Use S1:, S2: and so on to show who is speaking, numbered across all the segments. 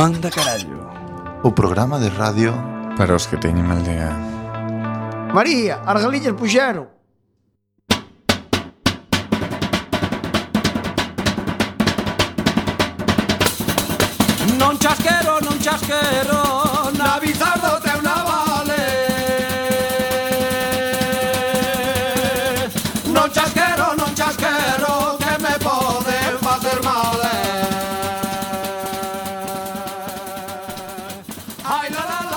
S1: Manda carallo
S2: O programa de radio
S3: Para os que teñen aldea
S4: María, as galillas puxeron
S5: Non chasquero, non chasquero Na bizardo treu na vale Non chasquero, non chasquero Que me pode facer mal eh. Ai, la, la, la.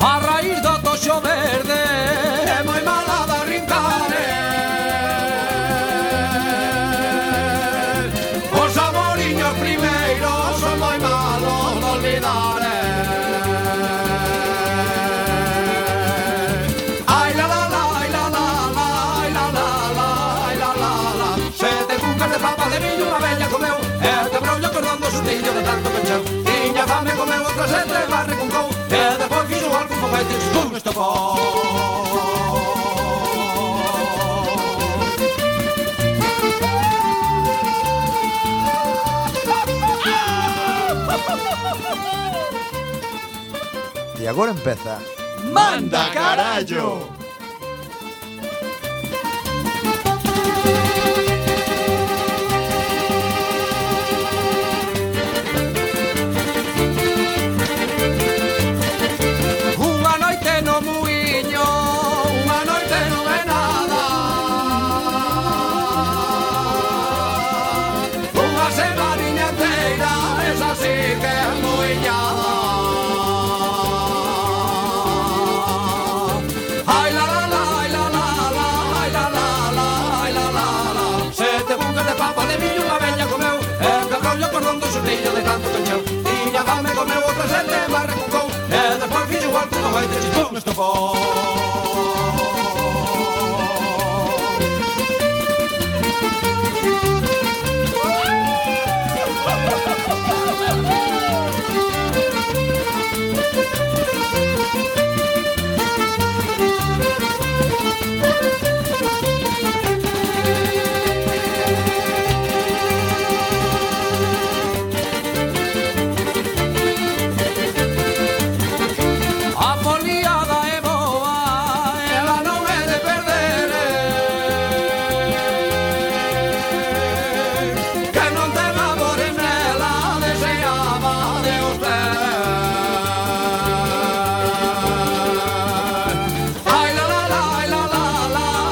S5: A raíz do toxo verde É moi mala da rincare Os amoriños primeiros Son moi malos de olvidar eh. Ai la la la, ai la la la Ai la la la, ai la la la Sete cucas de papa de viño Unha bella comeu E te brollo cordón do sustillo de tanto pencheu Tiña fame comeu outra sete Mas recuncou E depois fixo algún foguete Pum, estopou
S4: E agora empeza
S5: Manda carallo. Unha noite no muiño, unha noite no é nada. Unha semaninha inteira, esa sí que é muiñada. Ai la la la, ai la la la, ai la la la, ai la la la. Sete bucas de papa de millo unha bella comeu, e que rollo cordón do sotillo de tanto cancheu. Tiña fame comeu outra sete, mas recucou, e despois fixo Eh, igual que unha gaita chispou no estofón. A foliada é boa, ela non é de perder eh. Que non te labores nela, deseaba de usted Ai la la la, ai la la la,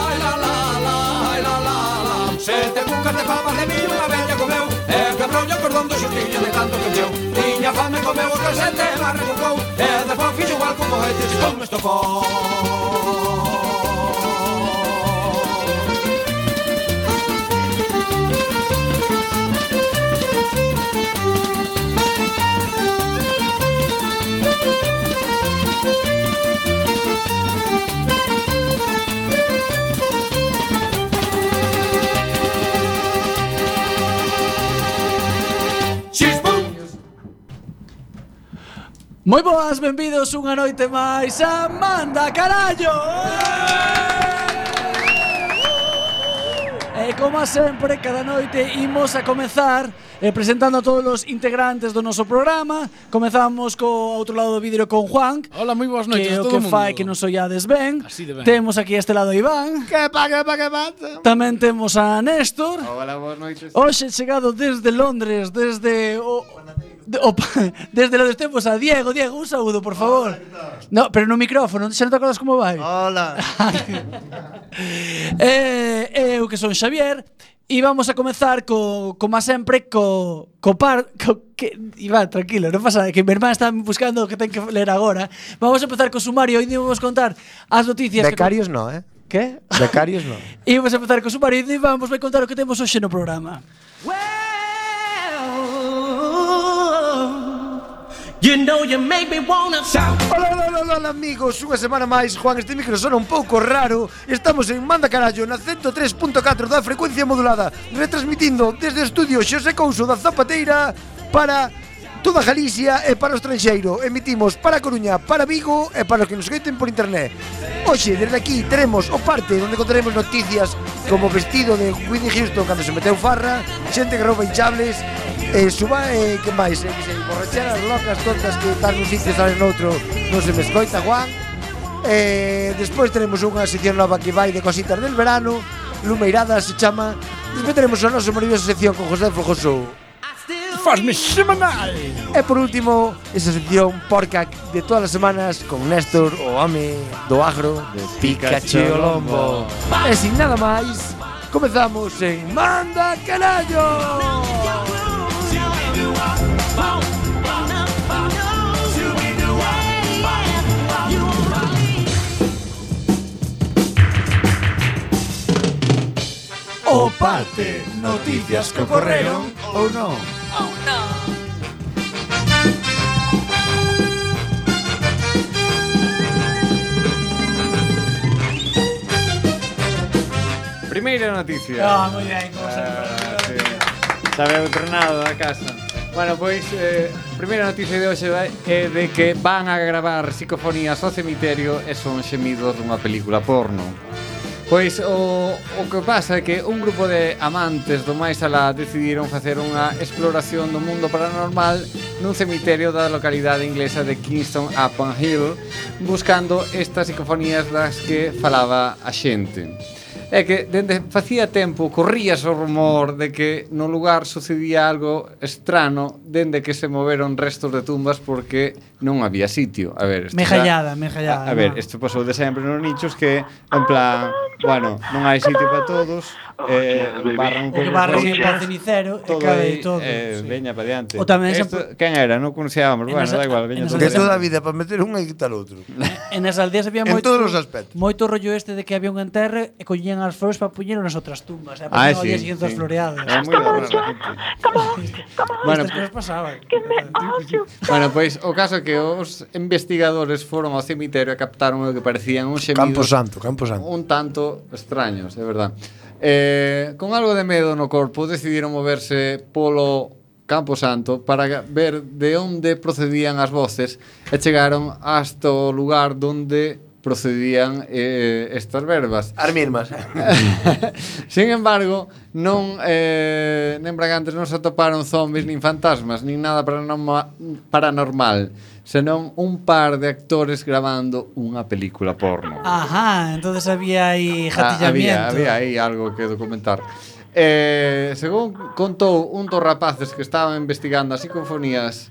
S5: ai la la la, ai la la la Sete cucas de papas de millo unha bella comeu E quebrou o cordón do xustillo de tanto que encheu Tiña fame comeu outra sete, mas recucou E depois fixo igual con cohetes e con estofón Chispum!
S1: Moi boas, benvidos unha noite máis a Manda Carallo E como a sempre, cada noite imos a comezar eh, presentando a todos os integrantes do noso programa Comezamos co outro lado do vidro con Juan
S6: Hola, moi boas noites
S1: Que
S6: a
S1: o
S6: todo
S1: que
S6: mundo.
S1: fai que nos ollades ben.
S6: Así de ben.
S1: Temos aquí a este lado a Iván
S4: Que pa, que pa, que pa
S1: Tamén temos a Néstor
S7: Hola, boas noites.
S1: Hoxe chegado desde Londres, desde o, de- o pa- desde los tempos a Diego, Diego, un saúdo, por favor. no, pero no micrófono, xa non te acordas como vai.
S7: Hola.
S1: eh, eu que son Xavier e vamos a comezar co como a sempre co co par co, que, Iván, tranquilo, non pasa nada, que mi hermana está buscando o que ten que ler agora. Vamos a empezar co sumario, hoy vamos contar as noticias
S4: Becarios no, eh?
S1: que... Que?
S4: Becarios no.
S1: Imos a empezar co sumario e vamos vai contar o que temos hoxe no programa.
S5: You know you make me wanna shout.
S4: Hola, hola, hola, hola, amigos. Unha semana máis, Juan, este micro sona un pouco raro. Estamos en Manda Carallo, na 103.4 da frecuencia modulada, retransmitindo desde o estudio Xosé Couso da Zapateira para toda Galicia e para o estranxeiro. Emitimos para Coruña, para Vigo e para os que nos escoiten por internet. Hoxe, desde aquí, teremos o parte onde contaremos noticias como vestido de Whitney Houston cando se meteu farra, xente que rouba hinchables, e suba, e que máis, e que se borracheras locas tontas que tal nun sitio salen noutro, non se me escoita, Juan. Eh, despois teremos unha sección nova que vai de cositas del verano, Lumeirada se chama. Despois teremos a nosa maravillosa sección con José Fojoso. Fasme semanal. E por último, esa sección porca de todas as semanas con Néstor, o home do agro de Pikachu o Lombo. E sin nada máis, comezamos en Manda Carallo.
S6: O parte, noticias que ocorreron
S8: Oh,
S6: ou non.
S7: Primeira Oh, noticia.
S1: Ah, moi ben, como
S7: Ah, sí. Sabe o tornado da casa. Bueno, pois, eh, primeira noticia de hoxe vai- é de que van a gravar psicofonías ao cemiterio e son xemidos dunha película porno. Pois o, o que pasa é que un grupo de amantes do máis alá decidiron facer unha exploración do mundo paranormal nun cemiterio da localidade inglesa de Kingston upon Hill buscando estas psicofonías das que falaba a xente. É que dende facía tempo corrías o rumor de que no lugar sucedía algo estrano dende que se moveron restos de tumbas porque non había sitio. A ver, isto
S1: Mejallada, mejallada,
S7: A, a ver,
S1: non?
S7: isto pasou de sempre nos nichos que en plan, bueno, non hai sitio para todos, eh, barran un
S1: O que
S7: pouco
S1: barra
S7: con-
S1: sempre para cenicero e
S7: todo
S1: cabe
S7: aí,
S1: todo.
S7: eh,
S1: sí.
S7: veña para diante.
S1: O tamén se-
S7: Esto, quen era? Non conoceábamos,
S1: En
S7: bueno,
S1: esa-
S7: da igual,
S1: en
S7: veña
S1: esa-
S7: todo.
S1: Que
S7: adiante.
S4: vida para meter unha e quitar outro.
S1: En as aldeas había
S4: En
S1: moito
S4: todos os aspectos.
S1: Moito rollo este de que había un enterro e collían as flores para poñer nas outras tumbas, eh, e
S7: Ah,
S1: poñían
S7: sí,
S1: as siguientes
S7: sí.
S1: floreadas.
S7: É moi raro, gente. Bueno,
S1: Estas cousas pasaban.
S7: Bueno, pois o caso é que os investigadores foron ao cemiterio e captaron o que parecían un xemido
S4: Santo, Campo
S7: un tanto extraños, é verdad. Eh, con algo de medo no corpo decidiron moverse polo Campo Santo para ver de onde procedían as voces e chegaron hasta o lugar donde procedían eh, estas verbas.
S4: Armirmas.
S7: Sin embargo, non eh, nen Bragantes non se atoparon zombies nin fantasmas, nin nada paranorma, paranormal, senón un par de actores gravando unha película porno.
S1: Ajá, entonces había aí
S7: Ah, había,
S1: jatillamiento.
S7: había aí algo que documentar. Eh, según contou un dos rapaces que estaban investigando as psicofonías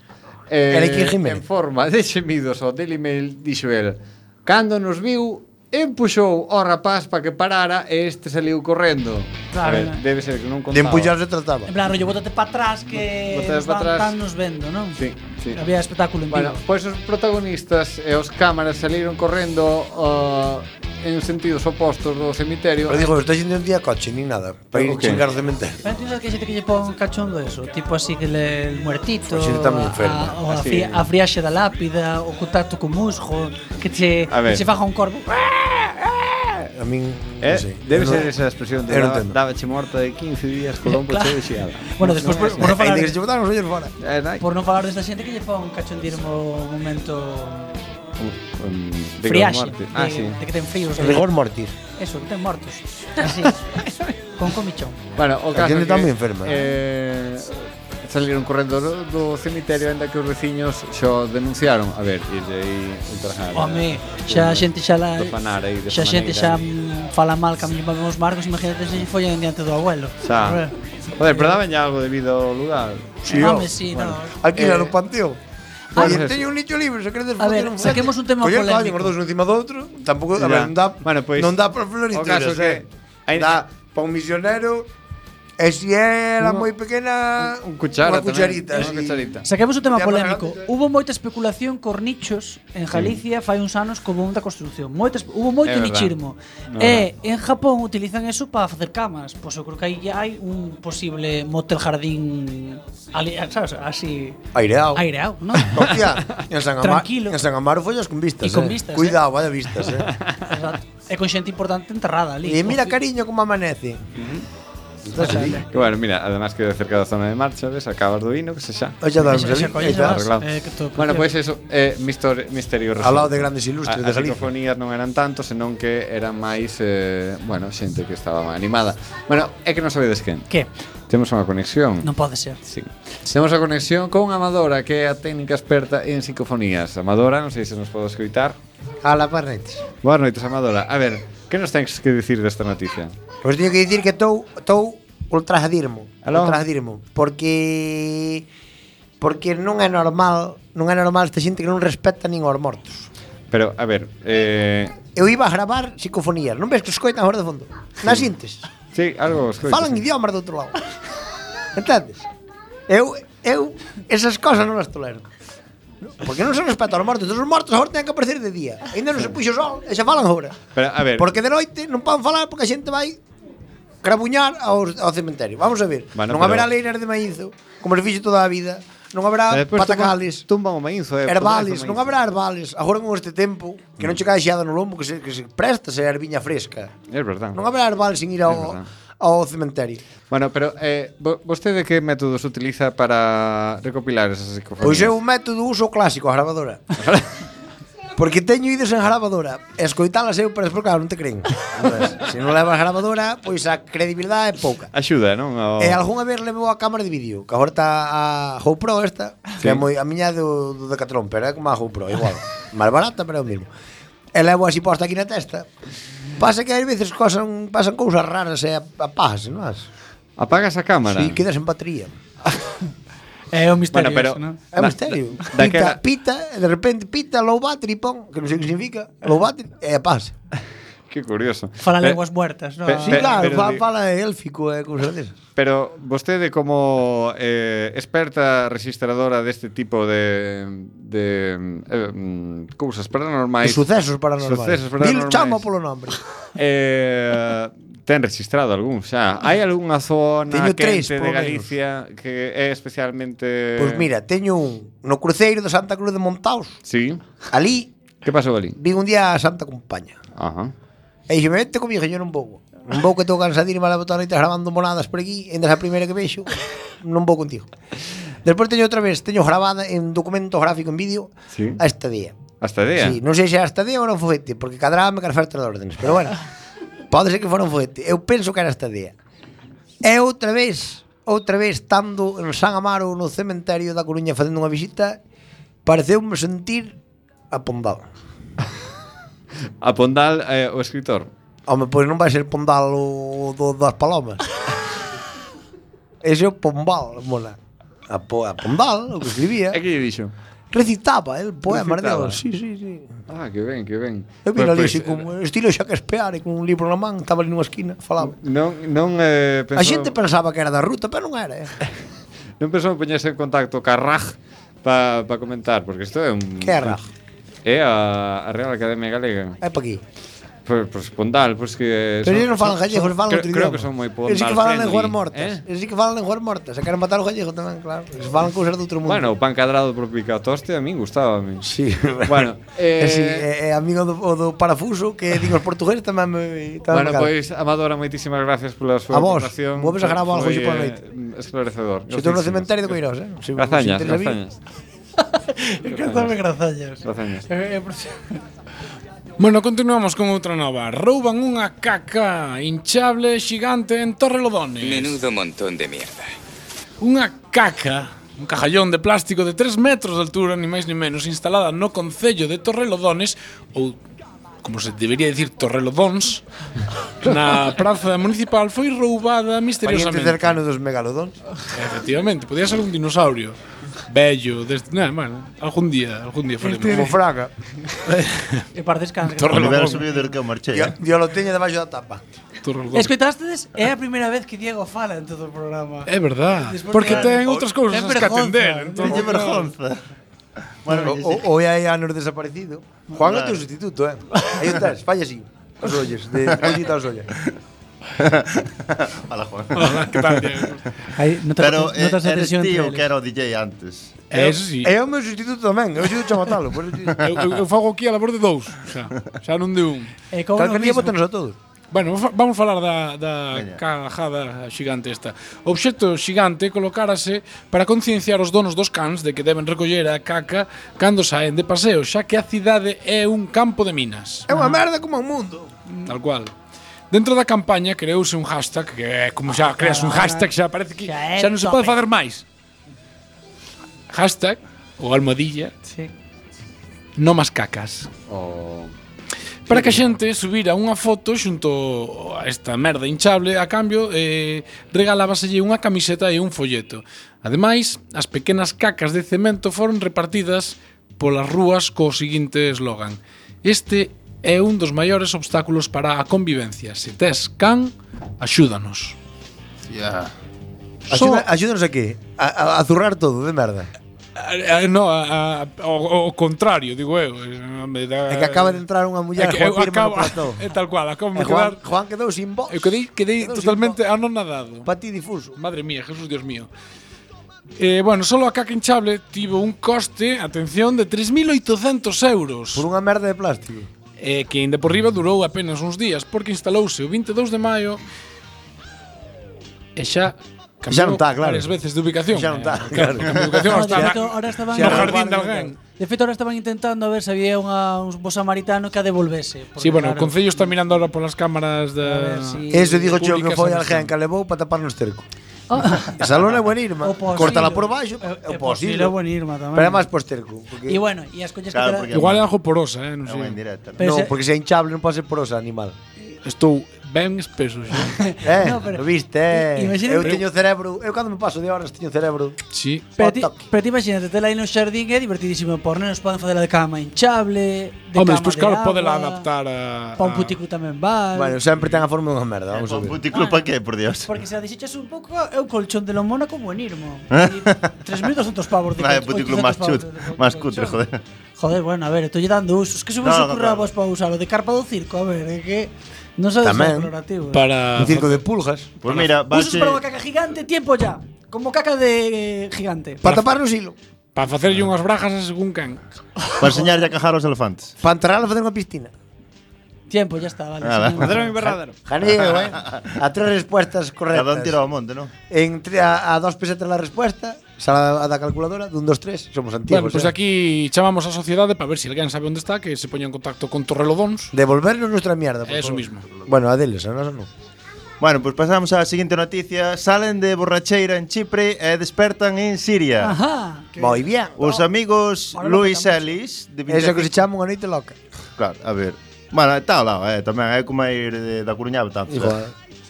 S7: eh,
S4: Era Iker Jiménez.
S7: en forma de xemidos ao Daily Mail dixo el cando nos viu empuxou ao rapaz para que parara e este saliu correndo a
S1: Claro,
S7: ver,
S1: eh.
S7: debe ser que non contaba
S4: De empullar se trataba.
S1: En plan, rollo, bótate para atrás que
S7: Bótate
S1: nos
S7: pa
S1: van
S7: atrás.
S1: tan nos vendo, non?
S7: sí, sí.
S1: Había espectáculo en
S7: Bueno,
S1: vivo.
S7: pois os protagonistas e os cámaras saliron correndo uh, en sentidos opostos do cemiterio
S4: Pero digo, estáis indo un día coche, ni nada. Para ir
S7: Ok.
S4: chingar o cementerio.
S1: Pero tú sabes que hai xente que lle pon cachondo eso Tipo así que le, el muertito
S4: Pois xente tamén
S1: a-
S4: enferma.
S1: a, o a,
S7: Así.
S1: fri, a friaxe da lápida O contacto co musgo Que che,
S7: A ver.
S1: que che faja un corvo
S4: A min, non
S7: Eh,
S4: sei.
S7: debe
S4: Eu non-
S7: ser esa expresión
S4: eu
S7: de
S4: non
S7: daba-
S4: entendo.
S7: dábache morta de 15 días Colombo
S1: Claro.
S7: claro. cheo de xiada.
S1: Bueno, despois por, por non falar
S4: Ainda que se botaron os ollos fora.
S7: Eh, dai.
S1: Por non falar desta xente que lle pon cachondirmo momento
S7: Um, um, de
S1: friaxe
S7: morte.
S1: de,
S7: Ah, sí.
S1: de que ten fríos
S4: Rigor mortis.
S1: Eso, que ten mortos Así Con comichón
S7: Bueno, o caso
S4: gente
S7: que,
S4: está moi enferma, non?
S7: Eh, saliron correndo do, do cemiterio ainda que os veciños xo denunciaron. A ver, e de aí ultrajar.
S1: Home, xa a xente xa la,
S7: Do panar aí, do
S1: xa a xente xa
S7: paneira.
S1: mm, fala mal camiño para os marcos, imagínate se lle follan en diante do abuelo.
S7: Xa. Joder, pero daban ya algo debido ao lugar.
S1: Sí, Home, sí, no.
S4: Aquí
S7: Eh,
S4: era no panteón.
S7: Pois
S4: Oye,
S7: eso.
S4: teño un nicho libre, se queredes
S1: A ver,
S4: facer un
S1: saquemos un tema
S4: Coller
S1: polémico.
S4: caballo, os dous encima do outro, tampouco, a
S7: Ya.
S4: ver, non dá,
S7: Bueno, pois,
S4: non dá para
S7: o caso
S4: floristeros,
S7: que
S4: eh.
S7: hai-
S4: Dá para un misionero, eh, E si era
S7: Unha-
S4: moi pequena,
S7: Un cuchara
S4: unha cucharita,
S7: tamén, Unha cucharita.
S1: Saquemos un tema
S4: Tema
S1: polémico.
S4: grande.
S1: Hubo moita especulación cor nichos en Galicia fai uns anos como un da construción. Moita, espe- hubo moito
S7: É verdad.
S1: nichismo.
S7: No,
S1: E en Japón utilizan eso para facer camas. Pois eu creo que aí ya hai un posible motel jardín ali, sabes, así
S4: Aireao.
S1: aireado, ¿no?
S4: Hostia, en San Amaro,
S1: Tranquilo.
S4: en San Amaro follas con vistas,
S1: E con
S4: eh.
S1: vistas,
S4: Cuidado, vaya vistas, eh.
S1: Exacto. e con xente importante enterrada ali.
S4: e mira
S1: Ofi-
S4: cariño como amanece.
S7: Mm.
S4: Estás
S1: Ojalá.
S4: ali.
S7: Que bueno, mira, además que cerca da zona de marcha, ves, acabas do hino, que se xa.
S4: Oye, damos
S1: Esa- esa
S4: ali.
S1: coña
S4: Ahí está.
S1: vas,
S7: arreglado.
S1: eh, que todo
S7: Bueno, pois
S1: precioso.
S7: pues eso, eh, mister, misterio
S4: Ao
S7: resolto.
S4: lado de grandes ilustres
S7: A-
S4: de
S7: As
S4: Galicia.
S7: psicofonías non eran tanto, senón que eran máis, eh, bueno, xente que estaba animada. Bueno, é que non sabedes quen.
S1: que
S7: Temos unha conexión.
S1: non pode ser.
S7: Sí. Temos a conexión con Amadora, que é a técnica experta en psicofonías. Amadora, non sei se nos podes escritar.
S4: A la parretes.
S7: Boas noites, Amadora. A ver, que nos tens que dicir desta noticia?
S4: Os teño que dicir que estou estou ultrajadirmo,
S7: Aló?
S4: ultrajadirmo, porque porque non é normal, non é normal esta xente que non respecta nin aos mortos.
S7: Pero, a ver, eh...
S4: Eu iba a gravar psicofonías, non ves que escoitan agora de fondo? Nas xintes.
S7: Sí, algo os coitas,
S4: Falan
S7: sí.
S4: idiomas do outro lado. Entendes? Eu eu esas cosas non as tolero. Porque non se respeta aos mortos, entón os mortos agora teñen que aparecer de día. Ainda non se puxo o sol e xa falan agora.
S7: Pero, a ver,
S4: Porque de noite non poden falar porque a xente vai crabuñar ao, ao cementerio. Vamos a ver.
S7: Bueno,
S4: non
S7: pero-
S4: haberá leiras de maízo, como se fixo toda a vida. Non haberá
S7: despois
S4: patacales.
S7: Tumban, tumban o maízo, eh,
S4: Herbales,
S7: podazo o
S4: non
S7: maízo.
S4: habrá herbales. Agora con este tempo, que non che cae xeada no lombo, que se, que se presta a herbiña fresca.
S7: É verdad.
S4: Non haberá herbales sin ir ao,
S7: verdad.
S4: ao cementerio.
S7: Bueno, pero eh, vo- vostede que métodos utiliza para recopilar esas psicofonías?
S4: Pois é un método uso clásico, a grabadora. Porque teño ides en grabadora Escoitalas eu, pero despois claro, non te creen Entón, Se non levas grabadora, pois a credibilidade é pouca
S7: Axuda, non? O...
S4: E algunha vez levou a cámara de vídeo Que agora está a GoPro esta Que
S7: Sí.
S4: é moi, a miña é do, do Decathlon Pero é como a GoPro, igual Más barata, pero é o mismo E levo así posta aquí na testa Pasa que ás veces cosan, pasan cousas raras E apagas, non as?
S7: Apagas a cámara.
S4: Si quedas en batería
S1: É un misterio,
S7: Bueno, pero...
S1: eso, ¿no?
S4: É
S7: na-
S4: un misterio
S7: da-
S4: Pita,
S7: Daquela,
S4: pita, e de repente pita Low battery, pon Que non sei o que significa Low battery, e pasa
S7: que curioso.
S1: Fala
S7: Pe-
S1: lenguas muertas, ¿no?
S7: pe-
S4: Sí,
S7: Pe-
S4: claro,
S7: pero
S4: fa,
S7: di-
S4: fala de élfico e cousas desas.
S7: Pero vostede como eh, experta registradora deste tipo de de eh, mm, cousas paranormais.
S4: Sucesos paranormais.
S7: Sucesos
S4: Dil
S7: paranormais.
S4: chama polo nombre.
S7: Eh, ten registrado algún xa. Hai algunha zona
S4: Teño tres,
S7: quente
S4: polo
S7: de Galicia que é especialmente
S4: Pois Pues mira, teño un no cruceiro de Santa Cruz de Montaus.
S7: Sí.
S4: Ali
S7: Que pasou ali?
S4: vi un día a Santa Compaña.
S7: Ajá.
S4: E dixeme, vente comigo, que yo non vou. Non vou que estou cansadín e me levo toda a noite grabando monadas por aquí, ainda é a primeira que vexo, non vou contigo. Despois teño outra vez, teño grabada en documento gráfico en vídeo
S7: Sí.
S4: a este estadía.
S7: Hasta día.
S4: Sí, non sei se era estadía ou era un foguete, porque cadraba me carfar tres órdenes, pero bueno. pode ser que fora un foguete. Eu penso que era estadía. E outra vez, outra vez estando en San Amaro no cementerio da Coruña facendo unha visita, pareceu-me sentir apondado.
S7: A Pondal eh, o escritor.
S4: Home, pois non vai ser pondal o do, das palomas. Ese é o pombal, mola. A, po, a pondal, o que escribía,
S7: É que lle dixo.
S4: recitaba el poema
S7: Recitaba.
S4: dele. Sí, sí, sí.
S7: Ah, que ben, que ben.
S4: Eu vi
S7: Pois-
S4: ali
S7: pois,
S4: así como estilo Shakespeare, con un libro na man, estaba ali nunha esquina, falaba.
S7: Non, non eh, pensou,
S4: A xente pensaba que era da ruta, pero non era. eh.
S7: non pensou poñerse en contacto ca Raj pa, pa comentar, porque isto é un...
S4: Que é Raj?
S7: É a, a Real Academia Galega.
S4: É pa aquí.
S7: Pois pues, Pondal, pois que...
S4: Pero
S7: son-
S4: eles non falan
S7: son-
S4: gallegos,
S7: son-
S4: falan
S7: creo,
S4: outro
S7: creo
S4: idioma.
S7: que son moi Pondal
S4: Eles sí que falan
S7: friendly,
S4: lenguas mortas.
S7: eh?
S4: Eles sí que falan lenguas mortas. E queren matar o gallego tamén, claro. Eles falan cousas do outro mundo.
S7: Bueno, o pan cadrado por picatoste a min gustábame.
S4: Sí.
S7: Bueno,
S4: Eh, sí, é, é
S7: eh,
S4: amigo do, o do parafuso que digo os portugueses tamén me tamén me
S7: Bueno,
S4: calan.
S7: pois, Amadora, moitísimas gracias pola
S4: A
S7: súa
S4: vos.
S7: aportación.
S4: Volves a gravar algo
S7: Foi,
S4: hoxe pola
S7: eh,
S4: noite.
S7: Esclarecedor.
S4: Se estou no
S7: Grazísimas.
S4: cementerio de Coirós, eh. Se- se
S7: Grazañas,
S4: interesa a mí.
S7: grazañas.
S1: Encantame grazallas.
S7: Grazallas.
S1: Eh, eh, por si-
S9: Bueno, continuamos con outra nova. Rouban unha caca hinchable xigante en Torrelodones.
S10: Menudo montón de mierda.
S9: Unha caca, un cajallón de plástico de 3 metros de altura, ni máis ni menos, instalada no Concello de Torrelodones, ou como se debería dicir Torrelodons, na praza municipal foi roubada
S4: Pariente
S9: misteriosamente.
S4: cercano dos megalodons.
S9: Efectivamente, podía ser un dinosaurio. bello, desde, nah, bueno, algún día, algún día faremos.
S4: Como fraga.
S1: E par descanso.
S9: Torre-
S3: O nivel
S9: Relojón.
S3: subiu desde que eu marchei.
S4: Yo, yo lo teño debaixo da tapa.
S9: Torrelón.
S1: Escoitástes? É a primeira vez que Diego fala en todo o programa.
S9: É verdad,
S1: Despois
S9: porque
S1: de-
S9: ten outras cousas
S1: Ten
S9: as que atender.
S1: vergonza,
S9: entón,
S3: Teño
S9: claro.
S3: vergonza. Bueno,
S4: O, o, hoy hai anos desaparecido. Juan é o teu sustituto, eh? Aí o tes, falla así. Os olles, de pollita aos olles.
S3: Hola, Juan.
S9: Hola, que tal, Diego?
S1: Aí, notas,
S3: Pero eh,
S1: notas a
S3: eres
S1: tensión
S3: ti o que
S1: entre
S3: era o DJ antes.
S9: É, Eh, Eso sí.
S4: Eh, É o meu sustituto tamén, eu xudo chamatalo. Por eso,
S9: Eu, eu, eu fago aquí a labor de dous, xa, xa non de un.
S1: E con
S4: calquer día
S1: mismo,
S4: botanos a todos.
S9: Bueno, va- vamos falar da, da
S3: Veña.
S9: cajada xigante esta. O obxecto xigante colocárase para concienciar os donos dos cans de que deben recoller a caca cando saen de paseo, xa que a cidade é un campo de minas,
S4: É unha merda como o mundo.
S9: Mm. tal cual. Dentro da campaña creouse un hashtag que é como xa creas un hashtag xa parece que
S1: Ah,
S9: xa
S1: Xa é
S9: non se pode
S1: tope.
S9: facer máis. Hashtag ou almohadilla
S1: Sí.
S9: no más cacas.
S7: O
S9: Para que a xente subira unha foto xunto a esta merda hinchable, a cambio eh, regalábaselle unha camiseta e un folleto. Ademais, as pequenas cacas de cemento foron repartidas polas rúas co seguinte eslogan. Este é un dos maiores obstáculos para a convivencia. Se tes can, axúdanos.
S3: Ya.
S9: Só-
S4: Axuda- Axúdanos aquí, a, a, a zurrar todo, de merda.
S9: A- a- Eh, No, a, a, o, o contrario, digo eu. Eh, Me da-
S4: É que acaba de entrar unha muller
S9: É que eu
S4: Juan Pirma no
S9: acabo-
S4: plató.
S9: É tal cual, acabo
S4: E
S9: de
S4: Juan,
S9: quedar...
S4: Juan quedou sin voz.
S9: Eu quedei, quedei
S4: Quedou sin
S9: totalmente anonadado.
S4: voz. Pa ti difuso.
S9: Madre mía, Jesús, Dios mío. Eh, bueno, solo a caca hinchable tivo un coste, atención, de 3.800 euros.
S4: Por unha merda de plástico.
S9: Eh, que ainda por riba durou apenas uns días, porque instalouse o 22 de maio e xa cambiou
S4: Xa non tá, claro.
S9: varias veces de ubicación.
S4: Xa non tá,
S9: Eh,
S4: claro.
S9: cambiou de ubicación
S1: No, de
S9: hasta
S1: feito,
S9: na-
S1: ahora estaban
S9: no
S4: Xa
S9: jardín
S4: robaron
S9: de
S4: e
S9: alguén.
S1: De feito, ahora estaban intentando a ver se había unha, un bo samaritano que a devolvese. porque,
S9: Sí, bueno, o
S1: claro,
S9: Concello está mirando ahora polas cámaras
S1: a
S9: da...
S1: ver si-
S4: Eso digo yo que
S9: públicas
S4: foi
S9: onde
S4: alguén
S9: están.
S4: que a levou para taparnos cerco.
S1: Ah,
S4: Esa lona é buena irma.
S1: O posilo.
S4: Córtala por baixo, é
S1: É- é
S4: o posible.
S1: posilo, é buena irma tamén.
S4: Pero é máis posterco. Porque,
S1: E bueno, e as collas
S3: Claro,
S1: que
S3: porque-
S1: tra-
S9: Igual é algo porosa, eh, non
S3: É unha
S9: sei.
S3: indirecta.
S1: Pero
S4: non,
S1: se-
S4: porque se é hinchable non pode ser porosa animal.
S9: Estou ben espeso, xa.
S4: Eh, no,
S1: No, pero-
S4: pero, viste, eh.
S1: I- imagina-
S4: eu
S1: Pero-
S4: teño cerebro, eu cando me paso de horas teño cerebro.
S9: Sí.
S1: Pero ti,
S4: Hot dog.
S1: pero ti imagínate, tela aí no xardín é divertidísimo. Por nenos poden facer de cama hinchable, de
S9: Hombre,
S1: cama
S9: despois
S1: de
S9: claro,
S1: agua,
S9: podela adaptar a...
S1: Pa
S9: a-
S1: un puticu tamén vale.
S4: Bueno, sempre ten a forma dunha merda,
S3: Vamos
S4: vamos a
S3: un
S4: ver.
S3: puticlub pa que, por Dios.
S1: Porque se a desechas un pouco é o colchón de lo Mónaco buenirmo. E 3.200 pavos de
S3: Eh? Vaya
S1: colchón,
S3: puticlub
S1: 800
S3: máis
S1: pavos
S3: chut,
S1: de- de
S3: máis
S1: colchón.
S3: cutre, joder.
S1: Joder, bueno, a ver, estoy dando usos. Que se vos
S3: No, no,
S1: ocurra
S3: claro.
S1: vos para usarlo de carpa do circo, a ver, é que non sabes
S4: Tamén.
S1: ser colorativo.
S9: Para...
S4: Un circo de pulgas.
S3: Pois mira,
S1: Usos
S3: vaxe...
S1: para unha caca gigante, tiempo ya. Como caca de eh, gigante.
S4: Para tapar no silo.
S9: Para facerlle unhas brajas a según can.
S3: Para enseñarlle a cajar aos elefantes.
S4: Para enterrar a facer unha piscina.
S1: Tiempo, ya está, vale.
S3: Nada.
S1: seguimos.
S9: invernadero.
S4: Janeo, eh. A tres respuestas correctas.
S3: Cada un tira ao monte, non?
S4: Entre a, a dos pesetas la respuesta, sala a da calculadora, dun, dos, tres, somos
S9: Bueno,
S4: antigos.
S9: pois pues
S4: eh.
S9: aquí chamamos á sociedade para ver se si alguén sabe onde está, que se poña en contacto con Torrelodóns.
S4: Devolvernos nuestra mierda, por
S9: Eso
S4: favor.
S9: mismo.
S4: Bueno, a deles, a nós non.
S3: Bueno, pois pasamos á seguinte noticia. Salen de borracheira en Chipre e despertan en Siria.
S1: Ajá.
S4: Moi bien.
S3: Os amigos
S1: Oh. Ahora lo
S3: Luis
S1: contamos.
S3: Ellis de
S4: Eso que
S3: 25
S4: se chama unha noite loca.
S3: Claro, a ver. Bueno, está ao lado, eh, tamén é como ir de, da Coruña a Betanzos.
S4: Igual.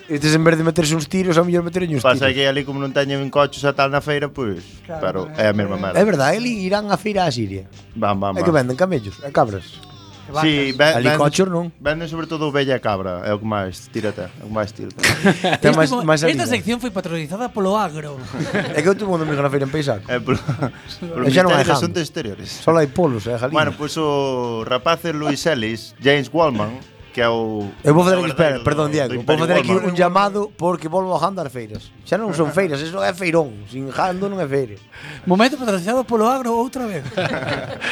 S4: Estes en vez de meterse uns tiros, a mellor meterse uns
S3: Pasa
S4: tiros.
S3: que ali como non teñen cochos a tal na feira, pois,
S1: Claro,
S3: claro,
S1: non
S3: é
S1: é-
S3: a mesma
S4: É
S3: merda.
S4: verdade, eles irán a feira a Siria.
S3: Van, van,
S4: É que
S3: van.
S4: venden camellos, e cabras.
S3: Sí, ven,
S4: Ali cochos non.
S3: Venden sobre todo bella e cabra, é o que máis tírate, é o que máis tírate.
S4: Ten
S1: Este
S4: máis
S1: mo-
S4: máis
S1: esta
S4: animal.
S1: sección foi patrocinada polo agro.
S4: É que eu tuve un domingo na feira en Paisaco.
S3: é polo, polo
S4: Xa non
S3: Ministerio de
S4: hai jambo.
S3: Asuntos Exteriores.
S4: Só hai polos, eh, é Jalina.
S3: Bueno, pois o rapaz é Luis Ellis, James Wallman, que é o...
S4: Eu vou fazer
S3: o verdadeiro
S4: aquí, espera, perdón,
S3: do-
S4: Diego,
S3: do
S4: vou fazer aquí
S3: Imperio Wallman.
S4: un llamado porque volvo bajando as feiras. Xa non son feiras, eso é feirón, sin jando non é feira.
S1: Momento patrocinado polo agro outra vez.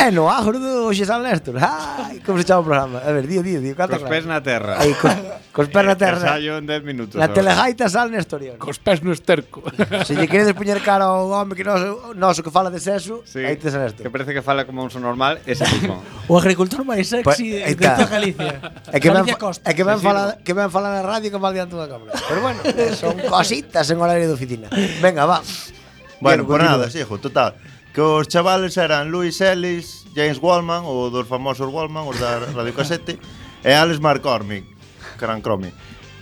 S4: É no agro do Xe San Néstor. Ai, como se chama o programa? A ver, dío, dío, dío, canta
S7: Cos pés
S4: claro.
S7: na terra.
S4: Aí, cos, cos pés na terra.
S7: Casallo en 10 minutos.
S4: La
S7: ahora.
S4: telegaita sal Nestoriano.
S9: Cos pés no esterco.
S4: Se lle queredes poñer cara ao home que noso, noso que fala de sexo,
S7: Sí,
S4: aí tes a
S7: que
S4: Néstor.
S7: parece que fala como un son normal, ese mismo.
S1: O agricultor máis
S4: Pues,
S1: sexy
S4: aí
S1: de, de
S4: está.
S1: toda Galicia.
S4: É que ven,
S1: Galicia
S4: fa-
S1: Costa.
S4: é que ven falar, que ven falar na radio que mal diante da cámara. Pero bueno, eh, son cositas en horario de oficina. Venga, va.
S3: Bueno,
S4: Diego,
S3: por
S4: continúa.
S3: nada, hijo, total. Que os chavales eran Luis Ellis, James Wallman, o dos famosos Wallman, os da Radio Casete, e Alex McCormick, Cran Cromi,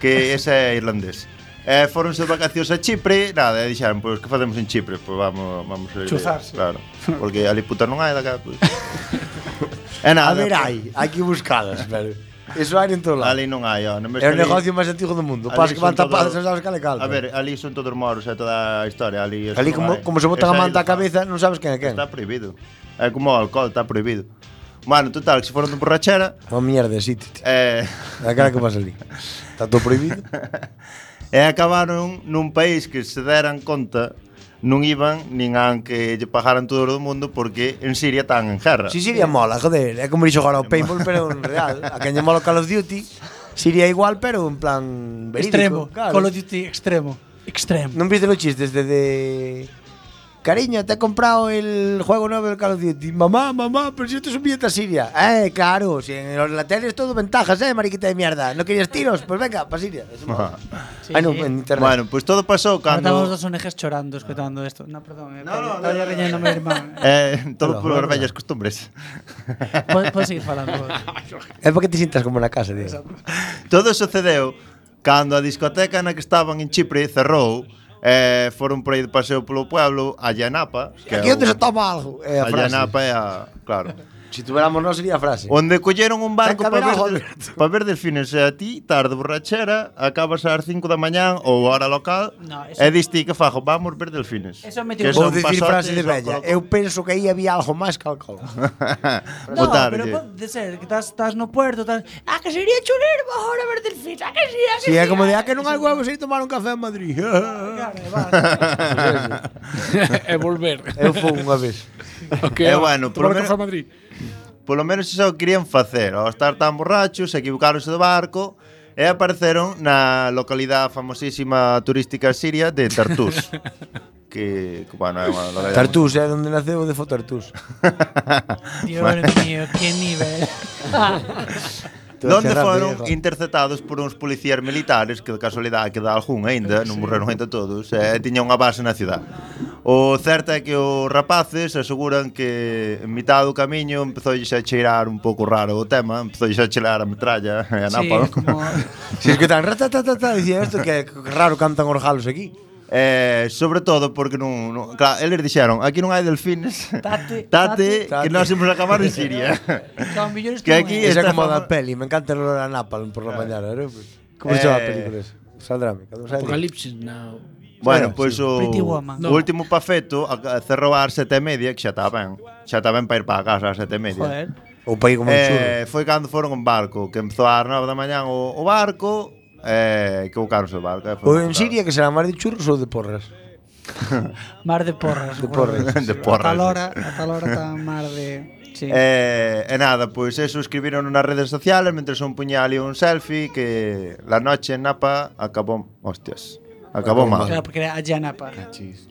S3: que ese é irlandés. eh, foronse de vacacións a Chipre, nada, e dixeron, pois que facemos en Chipre? Pois vamos, vamos a ir,
S9: Chuzarse.
S3: Claro, porque ali puta non hai daquela, pois. e nada,
S5: A ver,
S3: pois,
S5: hai, hai que buscalas, pero eso hai en todo lado.
S3: Ali non hai, ó, non me
S5: É o
S3: salí-
S5: negocio máis antigo do mundo.
S3: ali
S5: Pas que
S3: son
S5: van tapadas
S3: todo-
S5: as sabes cal e cal.
S3: A ver, ali son todos moros, é toda a historia, ali eso non
S5: ali como,
S3: hai.
S5: como se botan a
S3: Esa
S5: manta a
S3: ilusión.
S5: cabeza, non sabes quen é quen.
S3: Está prohibido. É como o alcohol, está prohibido. Bueno, total, que se foron de borrachera,
S5: Unha mierda de sitio, tío.
S3: eh,
S5: É cara que pasa ali. Está todo prohibido.
S3: e acabaron nun país que se deran conta non iban nin an que lle pagaran todo o mundo porque en Siria están en guerra.
S5: Si Siria mola, joder, é como dixo agora o paintball, pero en real. A quen lle mola o Call of Duty, Siria igual, pero en plan verídico.
S1: extremo.
S5: claro.
S1: Call of Duty extremo. Extremo.
S5: Non viste los chistes desde Cariño, te he comprado el juego nuevo del Call of Duty. Mamá, mamá, pero si esto es un billete a Siria. Eh, claro, si en los laterales todo ventajas, eh, mariquita de mierda. ¿No querías tiros? Pues venga, para Siria. Eso mola. Ay, no, en internet.
S3: Ah. Bueno, pois pues todo pasou
S1: Cando... Estamos
S3: cando
S1: dos ONGs chorando, escutando isto. No, perdón, eh, no,
S3: no,
S1: no, no,
S3: no,
S1: reñendo a mi irmán.
S3: eh, todo
S5: Hola,
S3: polas
S5: hola.
S3: vellas costumbres.
S1: Podes podes seguir falando. por favor.
S5: Es porque te sientas como en la casa, tío.
S3: Todo sucedeu cando a discoteca na que estaban en Chipre cerrou eh, foron por aí de paseo polo pueblo a Yanapa que é
S5: Aquí donde
S3: o-
S5: se toma algo. Eh,
S3: a
S5: a frase.
S3: Yanapa é a... claro
S5: Si tuviéramos no sería frase.
S3: Onde colleron un barco
S5: Ten
S3: para
S5: cabrao,
S3: ver,
S5: Alberto.
S3: para ver delfines e a ti, tarde borrachera, acabas ás 5 da mañán ou hora local,
S1: No, eso-
S3: e diste que fajo, vamos ver delfines.
S1: Eso me
S3: Que
S1: tirou-
S3: son
S5: Vou dicir
S3: pasotes,
S5: frase de
S3: son
S5: bella.
S3: colocos.
S5: Eu penso que aí había algo máis que alcohol.
S1: No,
S3: Botarlle.
S1: pero pode ser que estás, estás no puerto, estás... Ah, que sería chulero agora ver delfín, ah, que sí, ah,
S5: Si
S1: que sí,
S5: é como de,
S1: ah,
S5: ah, que non hai huevos ir tomar un café en Madrid.
S1: Claro, va.
S9: e volver.
S5: Eu fui unha vez.
S3: Eh,
S9: Okay,
S3: bueno, por lo
S9: tomar
S3: menos-
S9: café a Madrid.
S3: Polo menos iso o querían facer, ao estar tan borrachos, equivocaronse do barco, e apareceron na localidade famosísima turística siria de Tartus. que, que, bueno, é unha localidade...
S5: Tartús, é onde naceu o de Fotartús.
S1: Dios mío, que nivel.
S3: Donde
S5: Terra
S3: foron
S5: Vieja.
S3: interceptados por uns policías militares que de casualidade que dá algún aínda, non morreron aínda todos, e tiña unha base na ciudad. O certo é que os rapaces aseguran que en mitad do camiño empezou a cheirar un pouco raro o tema, empezou a cheirar a metralla e a
S1: Sí,
S3: napa.
S1: como...
S5: Si es que tan ratatatata, dicía esto que que raro cantan os galos aquí.
S3: Eh, sobre todo porque non, non claro, eles dixeron, aquí non hai delfines.
S1: Tate,
S3: tate,
S5: tate.
S3: que nós imos acabar en Siria.
S1: Son millores
S3: Que
S1: que
S3: aquí
S1: non é.
S5: Esa
S3: esta
S5: como a da
S3: fama-
S5: peli, me encanta el olor a napalm por la mañana, ¿no? Como
S3: Eh.
S5: se chama a película esa? Saldrame. cando sabe?
S9: Apocalipsis now.
S3: Bueno, pois o,
S1: Pretty Woman.
S3: o último pafeto a- a- cerrou ás sete e media, que xa está ben. Xa está ben para ir para casa ás sete e media.
S1: Joder.
S5: O país como un churro.
S3: Eh, foi cando foron en barco, que empezou ás nove da mañán o, o barco, eh, que buscaron o barco. eh, foi
S4: Pois,
S5: O en
S3: montado.
S5: Siria Pois que será máis de churros ou de porras?
S1: Mar de porras. De
S5: porras.
S3: De porras,
S1: A tal
S3: sí.
S1: hora, a tal hora está mar de... Sí.
S3: Eh, e nada, pois eso escribiron nas redes sociales mentre un puñal e un selfie que la noche en Napa acabou, hostias, acabou
S5: Acabou
S3: mal.
S1: Claro, porque era a Yanapa.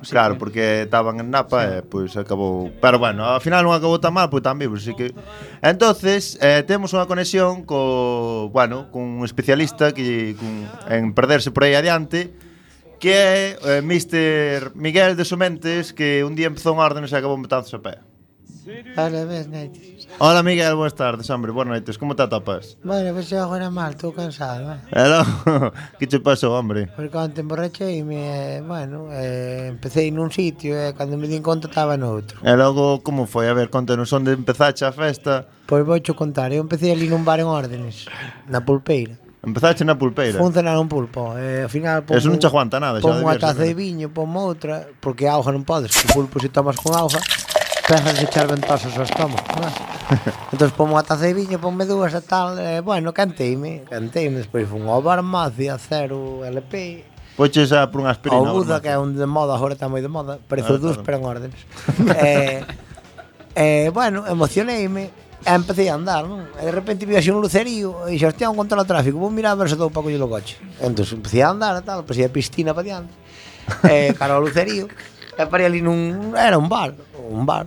S3: Claro, porque estaban en Napa e pois acabou, pero bueno, ao final non acabou tan mal, pois tan vivos, así que Entonces, eh, temos unha conexión co, bueno, cun especialista que cun, en perderse por aí adiante que é eh, Mr. Miguel de Somentes que un día empezou unha orden e se acabou metando a pé.
S4: Ahora ves, Naitis.
S3: Hola Miguel, boas tardes, hombre, boas noites, como te atopas?
S4: Bueno, pues yo ahora mal, estoy cansado. ¿eh?
S3: Hello, que che pasou, hombre?
S4: Porque cuando te emborraché y me, eh, bueno, eh, empecé en un sitio, eh, cuando me di cuenta estaba en otro.
S3: E logo, como foi? A ver, contanos onde empezache a festa
S4: Pues voy a contar, yo empecé a ir un bar en órdenes, na pulpeira.
S3: Empezache na pulpeira
S4: Funcionar un pulpo, eh, al final... pon
S3: Eso non
S4: un-
S3: te aguanta nada, xa
S4: Pon unha
S3: debías
S4: taza
S3: saber.
S4: de viño, pon outra, porque auga non podes, que pulpo se tomas con auga, pegas de echar ventosas ao estómago, non? entón pon unha taza de viño, ponme dúas e tal, eh, bueno, canteime, canteime, despois fun ao Barmaci, a Cero, LP,
S3: Poches a por unha aspirina
S4: ao
S3: Bruno.
S4: Buda, que é un de moda, agora está moi de moda, parece
S3: Ah,
S4: o dus,
S3: claro.
S4: pero en órdenes. eh, eh, bueno, emocioneime, e empecé a andar, non? E de repente vi así un lucerío e xa hostia, un contra o tráfico, vou mirar a ver se dou para coller o coche. Entón empecé a andar e tal, pasei a piscina para diante, eh, cara ao lucerío, e parei ali nun... era un bar, un bar,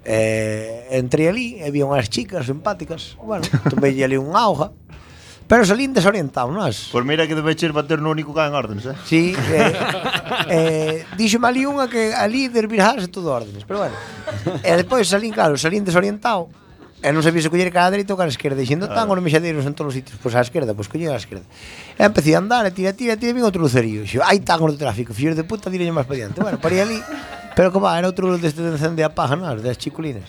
S4: Eh, entré ali e vi unhas chicas simpáticas Bueno, tomei ali un auga Pero salín desorientado, nós
S3: Pois mira que debe ser bater no único que hai en órdenes, eh?
S4: Sí, eh, eh, díxome ali unha que ali de virarse todo órdenes, pero bueno. E despois salín, claro, salín desorientado. E non sabía se coller cara dereita ou cara esquerda E xendo tan os mexadeiros en todos os sitios Pois á esquerda, pois collín á esquerda E empecé a andar, e tira, tira, tira, e vin outro lucerío Xo, hai tangos de tráfico, fillos de puta, direlle máis para diante Bueno, parei ali Pero como era outro luz deste de encende a paja, non? As das chiculinas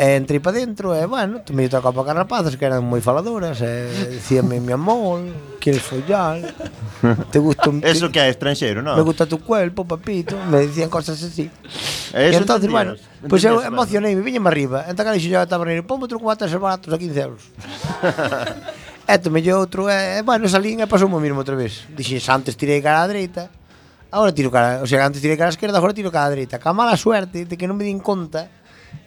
S4: E entrei para dentro e, bueno, me tocaba para carrapazas que eran moi faladoras e dicíame, mi amor, quieres follar, te gusta un...
S3: Eso que é estranxeiro, non?
S4: Me gusta tu cuerpo, papito. Me decían cosas así.
S3: Eso
S4: y entonces,
S3: entendíamos,
S4: bueno, pues yo
S3: entendías, bueno.
S4: emocioné, me viñeme arriba. Entón, cara, dixo yo a tabernero, ponme outro cubata esos baratos a 15 euros. e tomei yo outro, e, e, eh, bueno, salín e pasou o mismo outra vez. Dixen, antes tirei cara á dereita, agora tiro cara, o sea, antes tirei cara á esquerda, agora tiro cara á dereita. Ca mala suerte de que non me din conta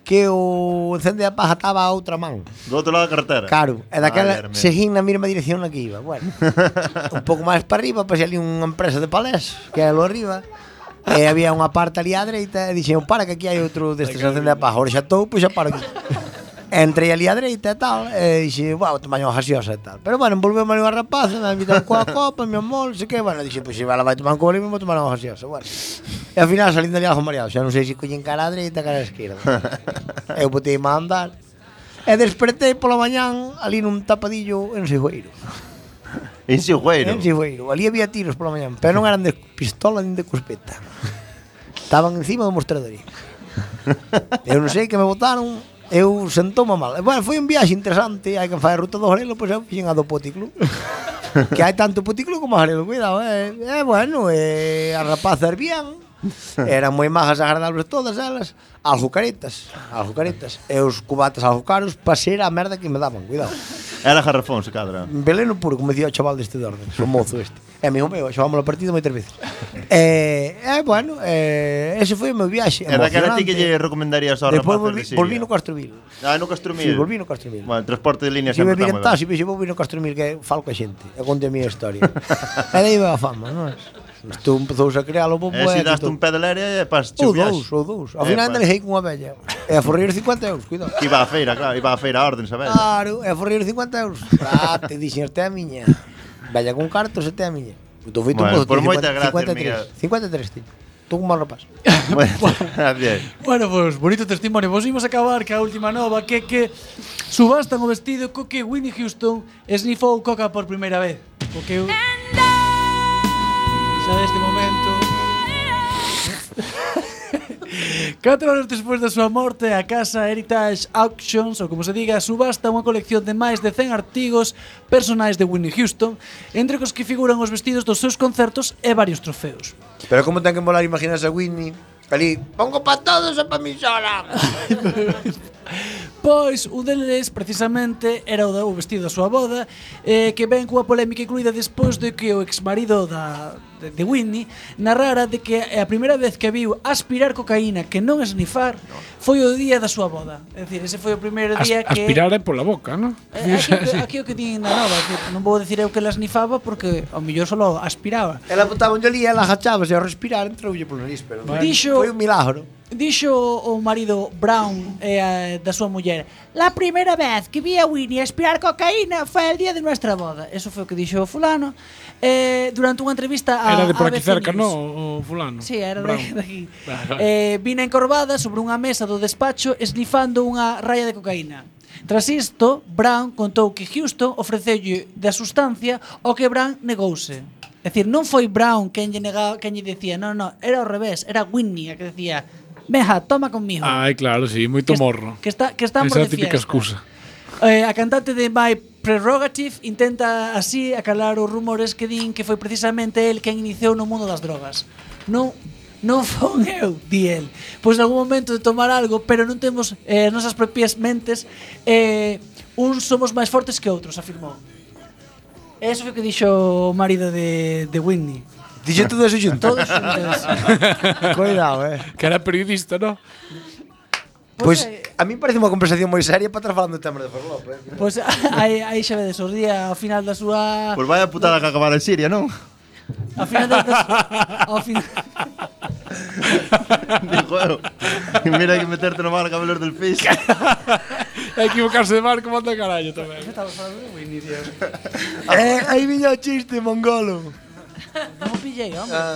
S4: que o encende a paja estaba a outra man.
S3: Do outro lado da carretera.
S4: Claro, e daquela
S3: Valerme.
S4: seguín na mesma dirección na que iba. Bueno, un pouco máis para arriba, pasei ali unha empresa de palés, que é lo arriba. E había unha parte ali á dereita e dixen, para que aquí hai outro destes acende a paja, ora xa estou, pois xa paro aquí. Entrei ali á dereita e tal, e dixe, wow, tomai unha gaseosa e tal. Pero bueno, envolveu ali unha rapaza, me invitaron coa copa, mi amor, sei que, bueno, dixe, pois se ela vai tomar un cobre, me vou tomar unha gaseosa, bueno. E ao final salindo ali algo mareado, xa non sei se collín cara á dereita, cara á esquerda. Eu botei má a andar, E despertei pola mañán ali nun tapadillo en Sijueiro.
S3: En Sigüeiro.
S4: En Sijueiro. Ali había tiros pola mañán, pero non eran de pistola nin de cuspeta. Estaban encima do mostrador. Eu non sei que me botaron, eu sentoma mal. E, Bueno, foi un viaxe interesante, hai que fazer a ruta do Arelo, pois eu fixen a do Poticlub. que hai tanto Poticlub como Arelo, cuidado, eh. E bueno, eh, as rapazas vían, eran moi majas e agradables todas elas, algo caretas, algo caretas. E os cubatas algo caros para ser a merda que me daban, cuidado.
S3: Era Jarrafón, se cadra.
S4: Beleno puro, como decía o chaval deste de orden, o mozo este. É amigo meu, xogamos o partido moitas veces. E, eh, bueno, eh, ese foi o meu viaxe.
S3: E daquela ti que lle recomendarías ao
S4: Despois
S3: rapaz
S4: volví, volví no Castromil.
S3: Ah, no Castromil.
S4: Sí, volví no Castromil.
S3: Bueno, el transporte de línea
S4: Si me
S3: sempre está moi
S4: viren
S3: ben.
S4: taxi, me volví no Castromil que falo coa xente. E conte a miña historia. e daí va a fama, non é? Isto empezouse a crear o bombo
S3: E se daste
S4: todo.
S3: un pé de leria e pas cheu
S4: Ou dous,
S3: viaxe.
S4: ou dous. Ao final
S3: Epa.
S4: delejei cunha bella. E a forrir 50 euros, cuidado.
S3: Eh, pues. Iba
S4: Ah,
S3: á feira, claro, iba á feira a orden, sabes?
S4: Claro, é forrir 50 euros. Ah, te dixen, este é a miña. Vaya con cartos, este é a miña. Tú feito
S3: Bueno,
S4: un pozo,
S3: por
S4: tiña
S3: moitas gracias,
S4: 53, 53, tío. Tú como rapaz.
S3: Bueno, bien.
S1: Bueno, pois, bonito testimonio. Vos imos acabar ca última nova que que subastan o vestido co que Whitney Houston esnifou coca por primeira vez. O que eu... Xa neste momento... Catro anos despois da súa morte, a casa Heritage Auctions, ou como se diga, subasta unha colección de máis de 100 artigos personais de Whitney Houston, entre os que figuran os vestidos dos seus concertos e varios trofeos.
S4: Pero como ten que molar imaginarse a Whitney Ali, pongo pa todos e pa mi sola.
S1: Pois un deles precisamente era o do vestido da súa boda eh, Que ven cunha polémica incluída despois de que o exmarido da, de, de Whitney Narrara de que a primeira vez que a viu aspirar cocaína que non esnifar Foi o día da súa boda É dicir, ese foi o primeiro
S9: As-
S1: día que
S9: aspirar é pola boca, non?
S1: Eh, Aquí, o que- aquí o que din na nova que Non vou dicir eu que la esnifaba porque ao mellor solo aspiraba
S4: Ela botaba un ali, ela agachaba, se ao respirar entroulle polo nariz, pero
S1: Dixo-
S4: foi un milagro.
S1: Dixo o marido Brown eh, a- da súa muller La primeira vez que vi a Winnie aspirar cocaína foi el día de nuestra boda Eso foi o que dixo o fulano eh, Durante unha entrevista a
S9: Era de por
S1: a
S9: aquí
S1: ABC
S9: cerca,
S1: News.
S9: non? O fulano.
S1: Sí, era de,
S9: Brown.
S1: de aquí
S9: Vale, vale.
S1: eh, Vina encorvada sobre unha mesa do despacho Esnifando unha raya de cocaína Tras isto, Brown contou que Houston ofreceulle da sustancia o que Brown negouse. É dicir, non foi Brown quen lle, negaba, quen lle decía, non, non, era ao revés, era Whitney a que decía, Meja, toma conmigo.
S9: Ai, claro, sí, moito
S1: que,
S9: morro.
S1: Que, está, que estamos
S9: Ah, Esa é a
S1: de
S9: típica
S1: fiesta.
S9: excusa.
S1: Eh, a cantante de My Prerogative intenta así acalar os rumores que din que foi precisamente el quen iniciou no mundo das drogas. Non Non fon eu, di el. Pois algún momento de tomar algo, pero non temos eh, as nosas propias mentes. Eh, uns somos máis fortes que outros, afirmou. E Eso foi o que dixo o marido de, de Whitney.
S4: Dixo todo eso xunto.
S1: Todos xuntos.
S4: Cuidado, eh.
S9: Que era periodista, non?
S4: Pois
S1: eh,
S4: a mí parece unha conversación moi seria para estar falando de temas de Forlop, eh.
S1: Pois aí, aí xa vedes, o día ao final da súa...
S3: Pois Pues vaya putada que acabar en Siria, non?
S1: Ao final da, da súa- ao final,
S3: Digo, eu. Mira que meterte no mar cabelos del pis.
S9: É equivocarse de barco, manda carallo tamén.
S4: eh aí viña o chiste mongolo.
S1: Non o pillei, home.
S5: Ah,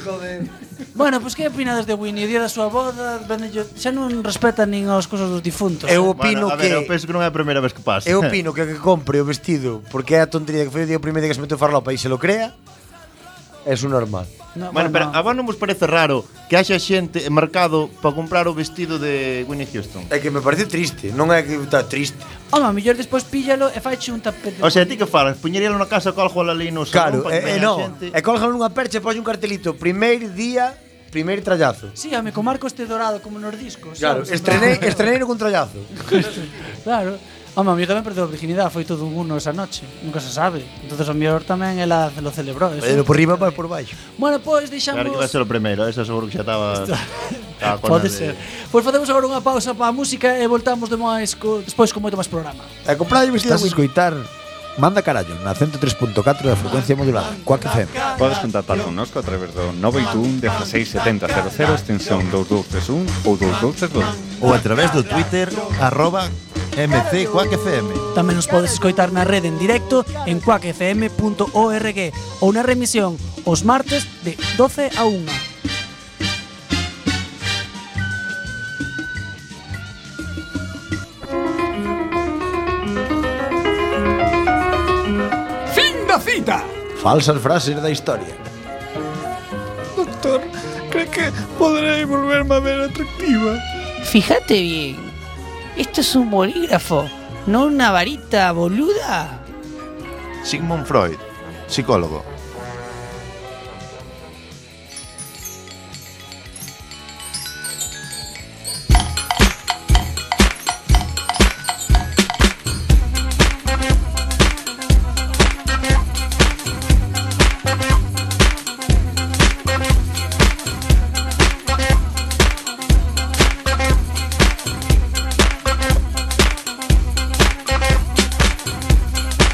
S5: joder.
S1: Bueno, pois que opinades de Winnie? O día da súa boda, vendello- xa non respetan nin aos cosos dos difuntos. eh?
S4: Eu
S3: Bueno,
S4: opino
S3: a
S4: que
S3: ver, eu penso que non é a primeira vez que pasa.
S4: Eu opino que a que compre o vestido Porque é a tontería que foi o día primeiro que se meteu farlopa E se lo crea É su normal
S1: No,
S3: Bueno, pero a vos non vos parece raro que haxa xente mercado para comprar o vestido de Winnie Houston?
S4: É que me parece triste Non é que está triste
S1: Home, a mellor despois píllalo e faiche un tapete.
S3: O sea, ti que falas? Puñeríalo na casa colgo a lei no salón
S4: Claro,
S3: pa que
S4: é, é
S3: veña a
S4: non
S3: xente?
S4: E colgan nunha percha e poñe un cartelito Primeiro día, primeiro trallazo
S1: Sí, home, con Marco este dorado como nos discos.
S4: Claro,
S1: sabes?
S4: estrenei, estreneiro con trallazo
S1: Claro. Home, a mellor tamén perdeu a virginidade, foi todo un uno esa noche, nunca se sabe. Entonces a mellor tamén ela lo celebrou. eso.
S4: Pero por riba, para por baixo
S1: Bueno, pois
S3: Claro que vai
S1: deixamos
S3: ser o primeiro, esa seguro que xa estaba... estaba con a
S1: Pode
S3: de-
S1: ser.
S4: eh.
S1: Pois facemos agora unha pausa para a música e voltamos de máis co, despois con moito máis programa.
S4: E comprade o vestido Estás a escoitar Manda carallo na 103.4 da frecuencia modulada Coac FM
S11: Podes contactar connosco a través do 921 16 70 00 extensión 2231 ou 2232.
S3: ou a través do Twitter arroba mcquackfm.
S1: Tamén nos podes escoitar na rede en directo en cuacfm.org ou na remisión os martes de 12 a 1.
S8: Fin da cita.
S4: Falsas frases da historia
S9: Doctor, creo que podré volverme a ver atractiva?
S12: Fíjate bien. Esto es un bolígrafo, no una varita boluda.
S3: Sigmund Freud, psicólogo.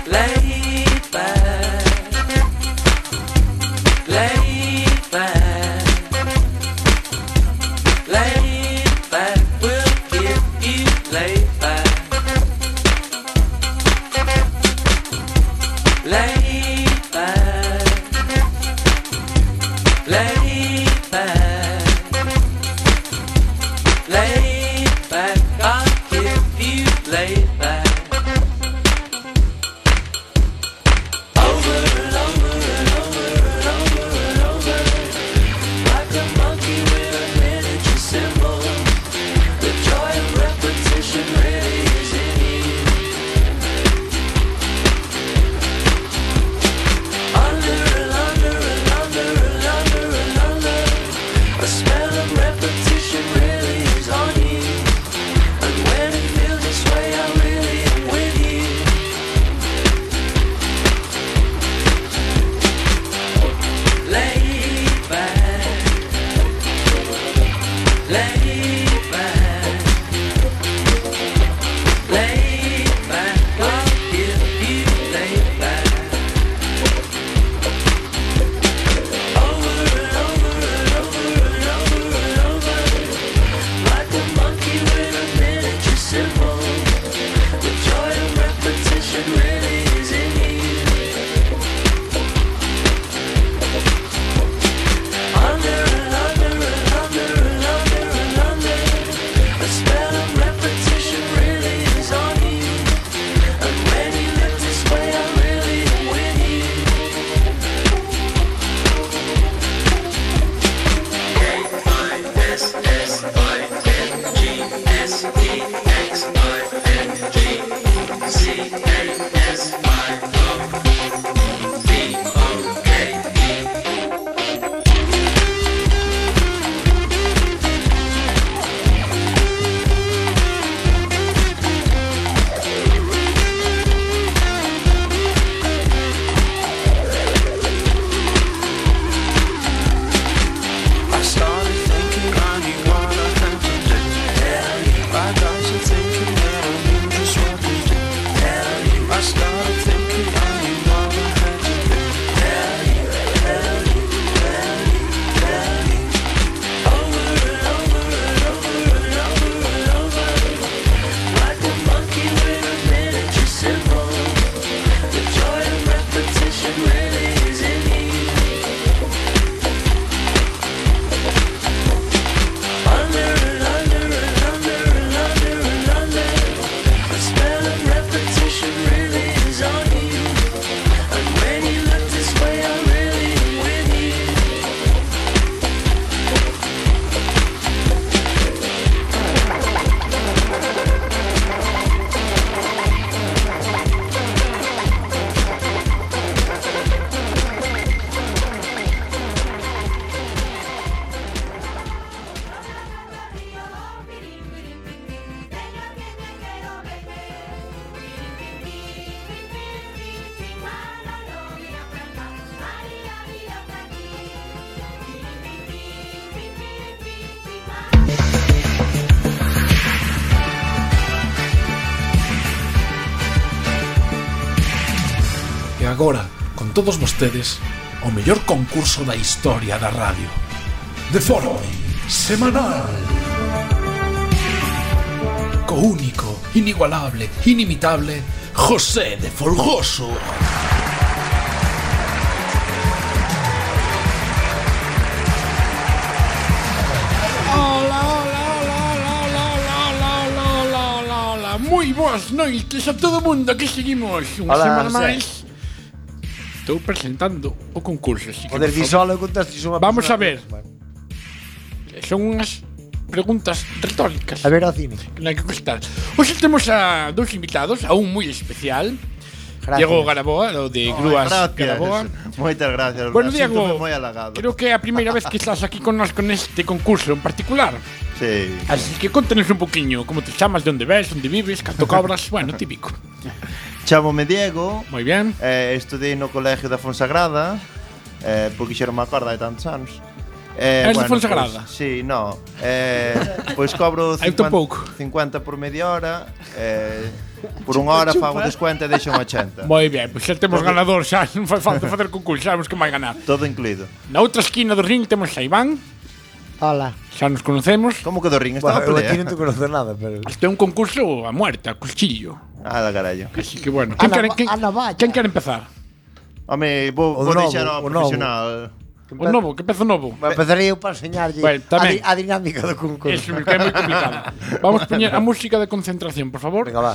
S8: Laid back. Laid back. Laid back. We'll give you laid back. Laid back. Laid back. Laid back. I'll give you laid back. E I started thinking I knew what I had to do. Tell you. I got you thinking that I knew just what to do. Tell you. I started thinking
S13: agora, con todos vostedes, o mellor concurso da historia da radio. De forma semanal. Co único, inigualable, inimitable, José de Folgoso.
S9: Hola, hola, hola, hola, hola, hola, hola, hola, hola, hola. Moi boas noites a todo mundo que seguimos unha
S6: Hola,
S9: semana
S6: José.
S9: máis. Estou presentando o concurso. Así que,
S6: Poder
S9: por
S6: ti
S9: favor.
S6: solo contaste unha
S9: Vamos a
S6: persona-
S9: ver. Son unhas preguntas retóricas.
S4: A ver ao cine.
S9: Na que contestar. Hoxe temos a dous invitados, a un moi especial.
S3: Gracias.
S9: Diego Garaboa, o de Grúas Garaboa.
S3: Moitas gracias.
S9: Bueno,
S3: Síntome
S9: Diego,
S3: moi halagado.
S9: creo que é a primeira vez que estás aquí con nós con este concurso en particular.
S3: Sí.
S9: Así que contanos un poquinho como te chamas, de onde ves, onde vives, canto cobras, bueno, típico.
S3: Chámome Diego.
S9: Moi ben.
S3: Eh, estudei no colegio da Fonsagrada, eh, porque xa non me acordo hai tantos anos. Eh,
S9: Eres de Fonsagrada?
S3: Pois, sí, no. Eh, pois cobro
S9: Eu
S3: 50,
S9: tampouco.
S3: 50 por media hora, eh, por unha hora
S9: Chupa.
S3: fago descuento e deixo un 80.
S9: Moi ben, pois xa temos pues ganador xa, non fai falta facer concurso, sabemos que vai ganar.
S3: Todo incluído.
S9: Na outra esquina do ring temos a Iván.
S4: Hola.
S9: Xa nos conocemos.
S3: Como que do ring
S4: Bueno, eu aquí non te conozco nada, pero...
S9: Este é un concurso a muerte, a cuchillo.
S3: Ah, da carallo.
S9: Así que bueno. Quen quere, quen, quen quere empezar?
S3: Home, vou,
S9: O
S3: vou
S9: novo,
S3: deixar ao
S9: o novo.
S3: profesional.
S9: O novo, que peza o novo?
S4: Empezaría eu para enseñarlle
S9: Bueno, tamén.
S4: a, di- a dinámica do concurso.
S9: Eso, que é moi complicado. Vamos poñer a música de concentración, por favor.
S4: Venga, va.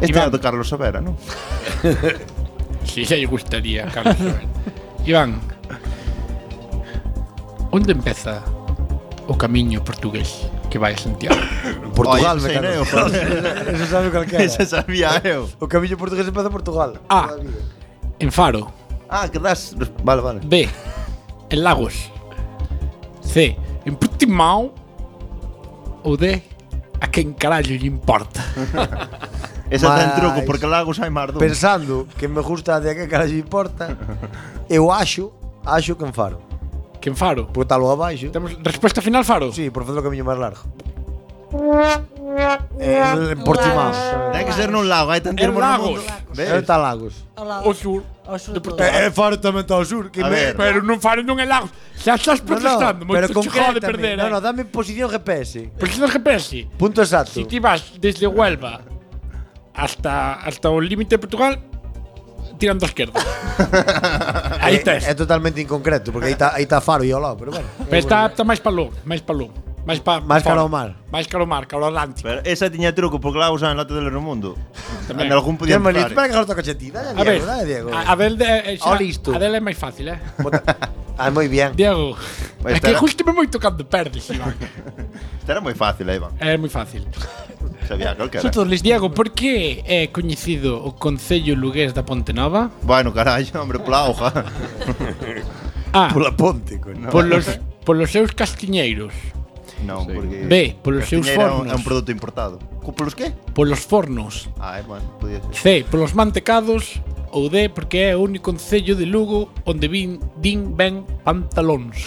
S3: Este é o de Carlos Sobera, non?
S9: Si xa lle gustaría, Carlos. Iván. Onde empeza o camiño portugués que vai a Santiago?
S4: Portugal, me cago. Eso sabe calquera.
S9: Ese sabía eu.
S4: O camiño portugués empeza en Portugal.
S9: Ah. En Faro.
S3: Ah, que das... Vale, vale.
S9: B. En Lagos. C. En Portimão. Ou D. A quen carallo lle importa.
S3: Ese ten truco, porque Lagos hai mar dun.
S4: Pensando que me gusta de que carallo importa, eu acho, acho que en Faro.
S9: Que en Faro?
S4: Porque está logo abaixo.
S9: Temos resposta final Faro?
S4: Sí, por fazer o camiño máis largo. En Portimao.
S3: Ten que ser nun lago, Eh, hai tanto
S4: En
S3: irmão no
S4: Lagos.
S3: mundo.
S4: É está Lagos.
S9: O sur.
S1: de
S9: Portugal.
S4: É Faro tamén está ao sur. Que
S9: A ver. Pero non Faro non é Lagos. Xa estás protestando, moito
S4: pero
S9: che
S4: concrétame.
S9: jode perder,
S4: No,
S9: eh.
S4: no, dame posición GPS.
S9: Posición GPS.
S4: Punto exacto.
S9: Si ti vas desde Huelva hasta, hasta o límite de Portugal, tirando a esquerda. Aí
S4: É-
S9: tes.
S4: É totalmente inconcreto, porque aí está aí está Faro e ao lado, pero bueno.
S9: Pero está apta máis para Lugo, máis para Lugo. Máis para
S4: Máis cara ao mar.
S9: Máis cara ao mar, cara ao Atlántico.
S3: Pero esa tiña truco, porque Lagos hai en lata del mundo.
S9: Tamén.
S3: En algún podía
S4: Qué malito,
S3: entrar.
S4: espera que corto a cachetina.
S9: A ver, a, a ver, de, eh,
S4: Ó,
S9: xa,
S4: Oh, listo.
S9: a dela é máis fácil, eh?
S4: Ah, moi bien.
S9: Diego,
S3: Vai
S9: é que
S3: estar-
S9: justo me moi tocando perdes, Iván.
S3: Esta era Pues moi fácil, eh, Iván.
S9: É moi fácil.
S3: Sabía calquera.
S9: Sotorles, Diego, por que é coñecido o Concello Lugués da Ponte Nova?
S3: Bueno, carallo, hombre, pola hoja.
S9: Ah.
S3: Pola ponte, coño.
S9: Polos, polos seus castiñeiros.
S3: Non, porque...
S9: B, polos seus
S3: Castiñeira é un-
S9: fornos.
S3: É un produto importado. Co- Polos que?
S9: Polos fornos.
S3: Ah, eh, bueno, podía ser.
S9: C, polos mantecados. Ou D, porque é o único concello de Lugo onde vin, din ben pantalóns.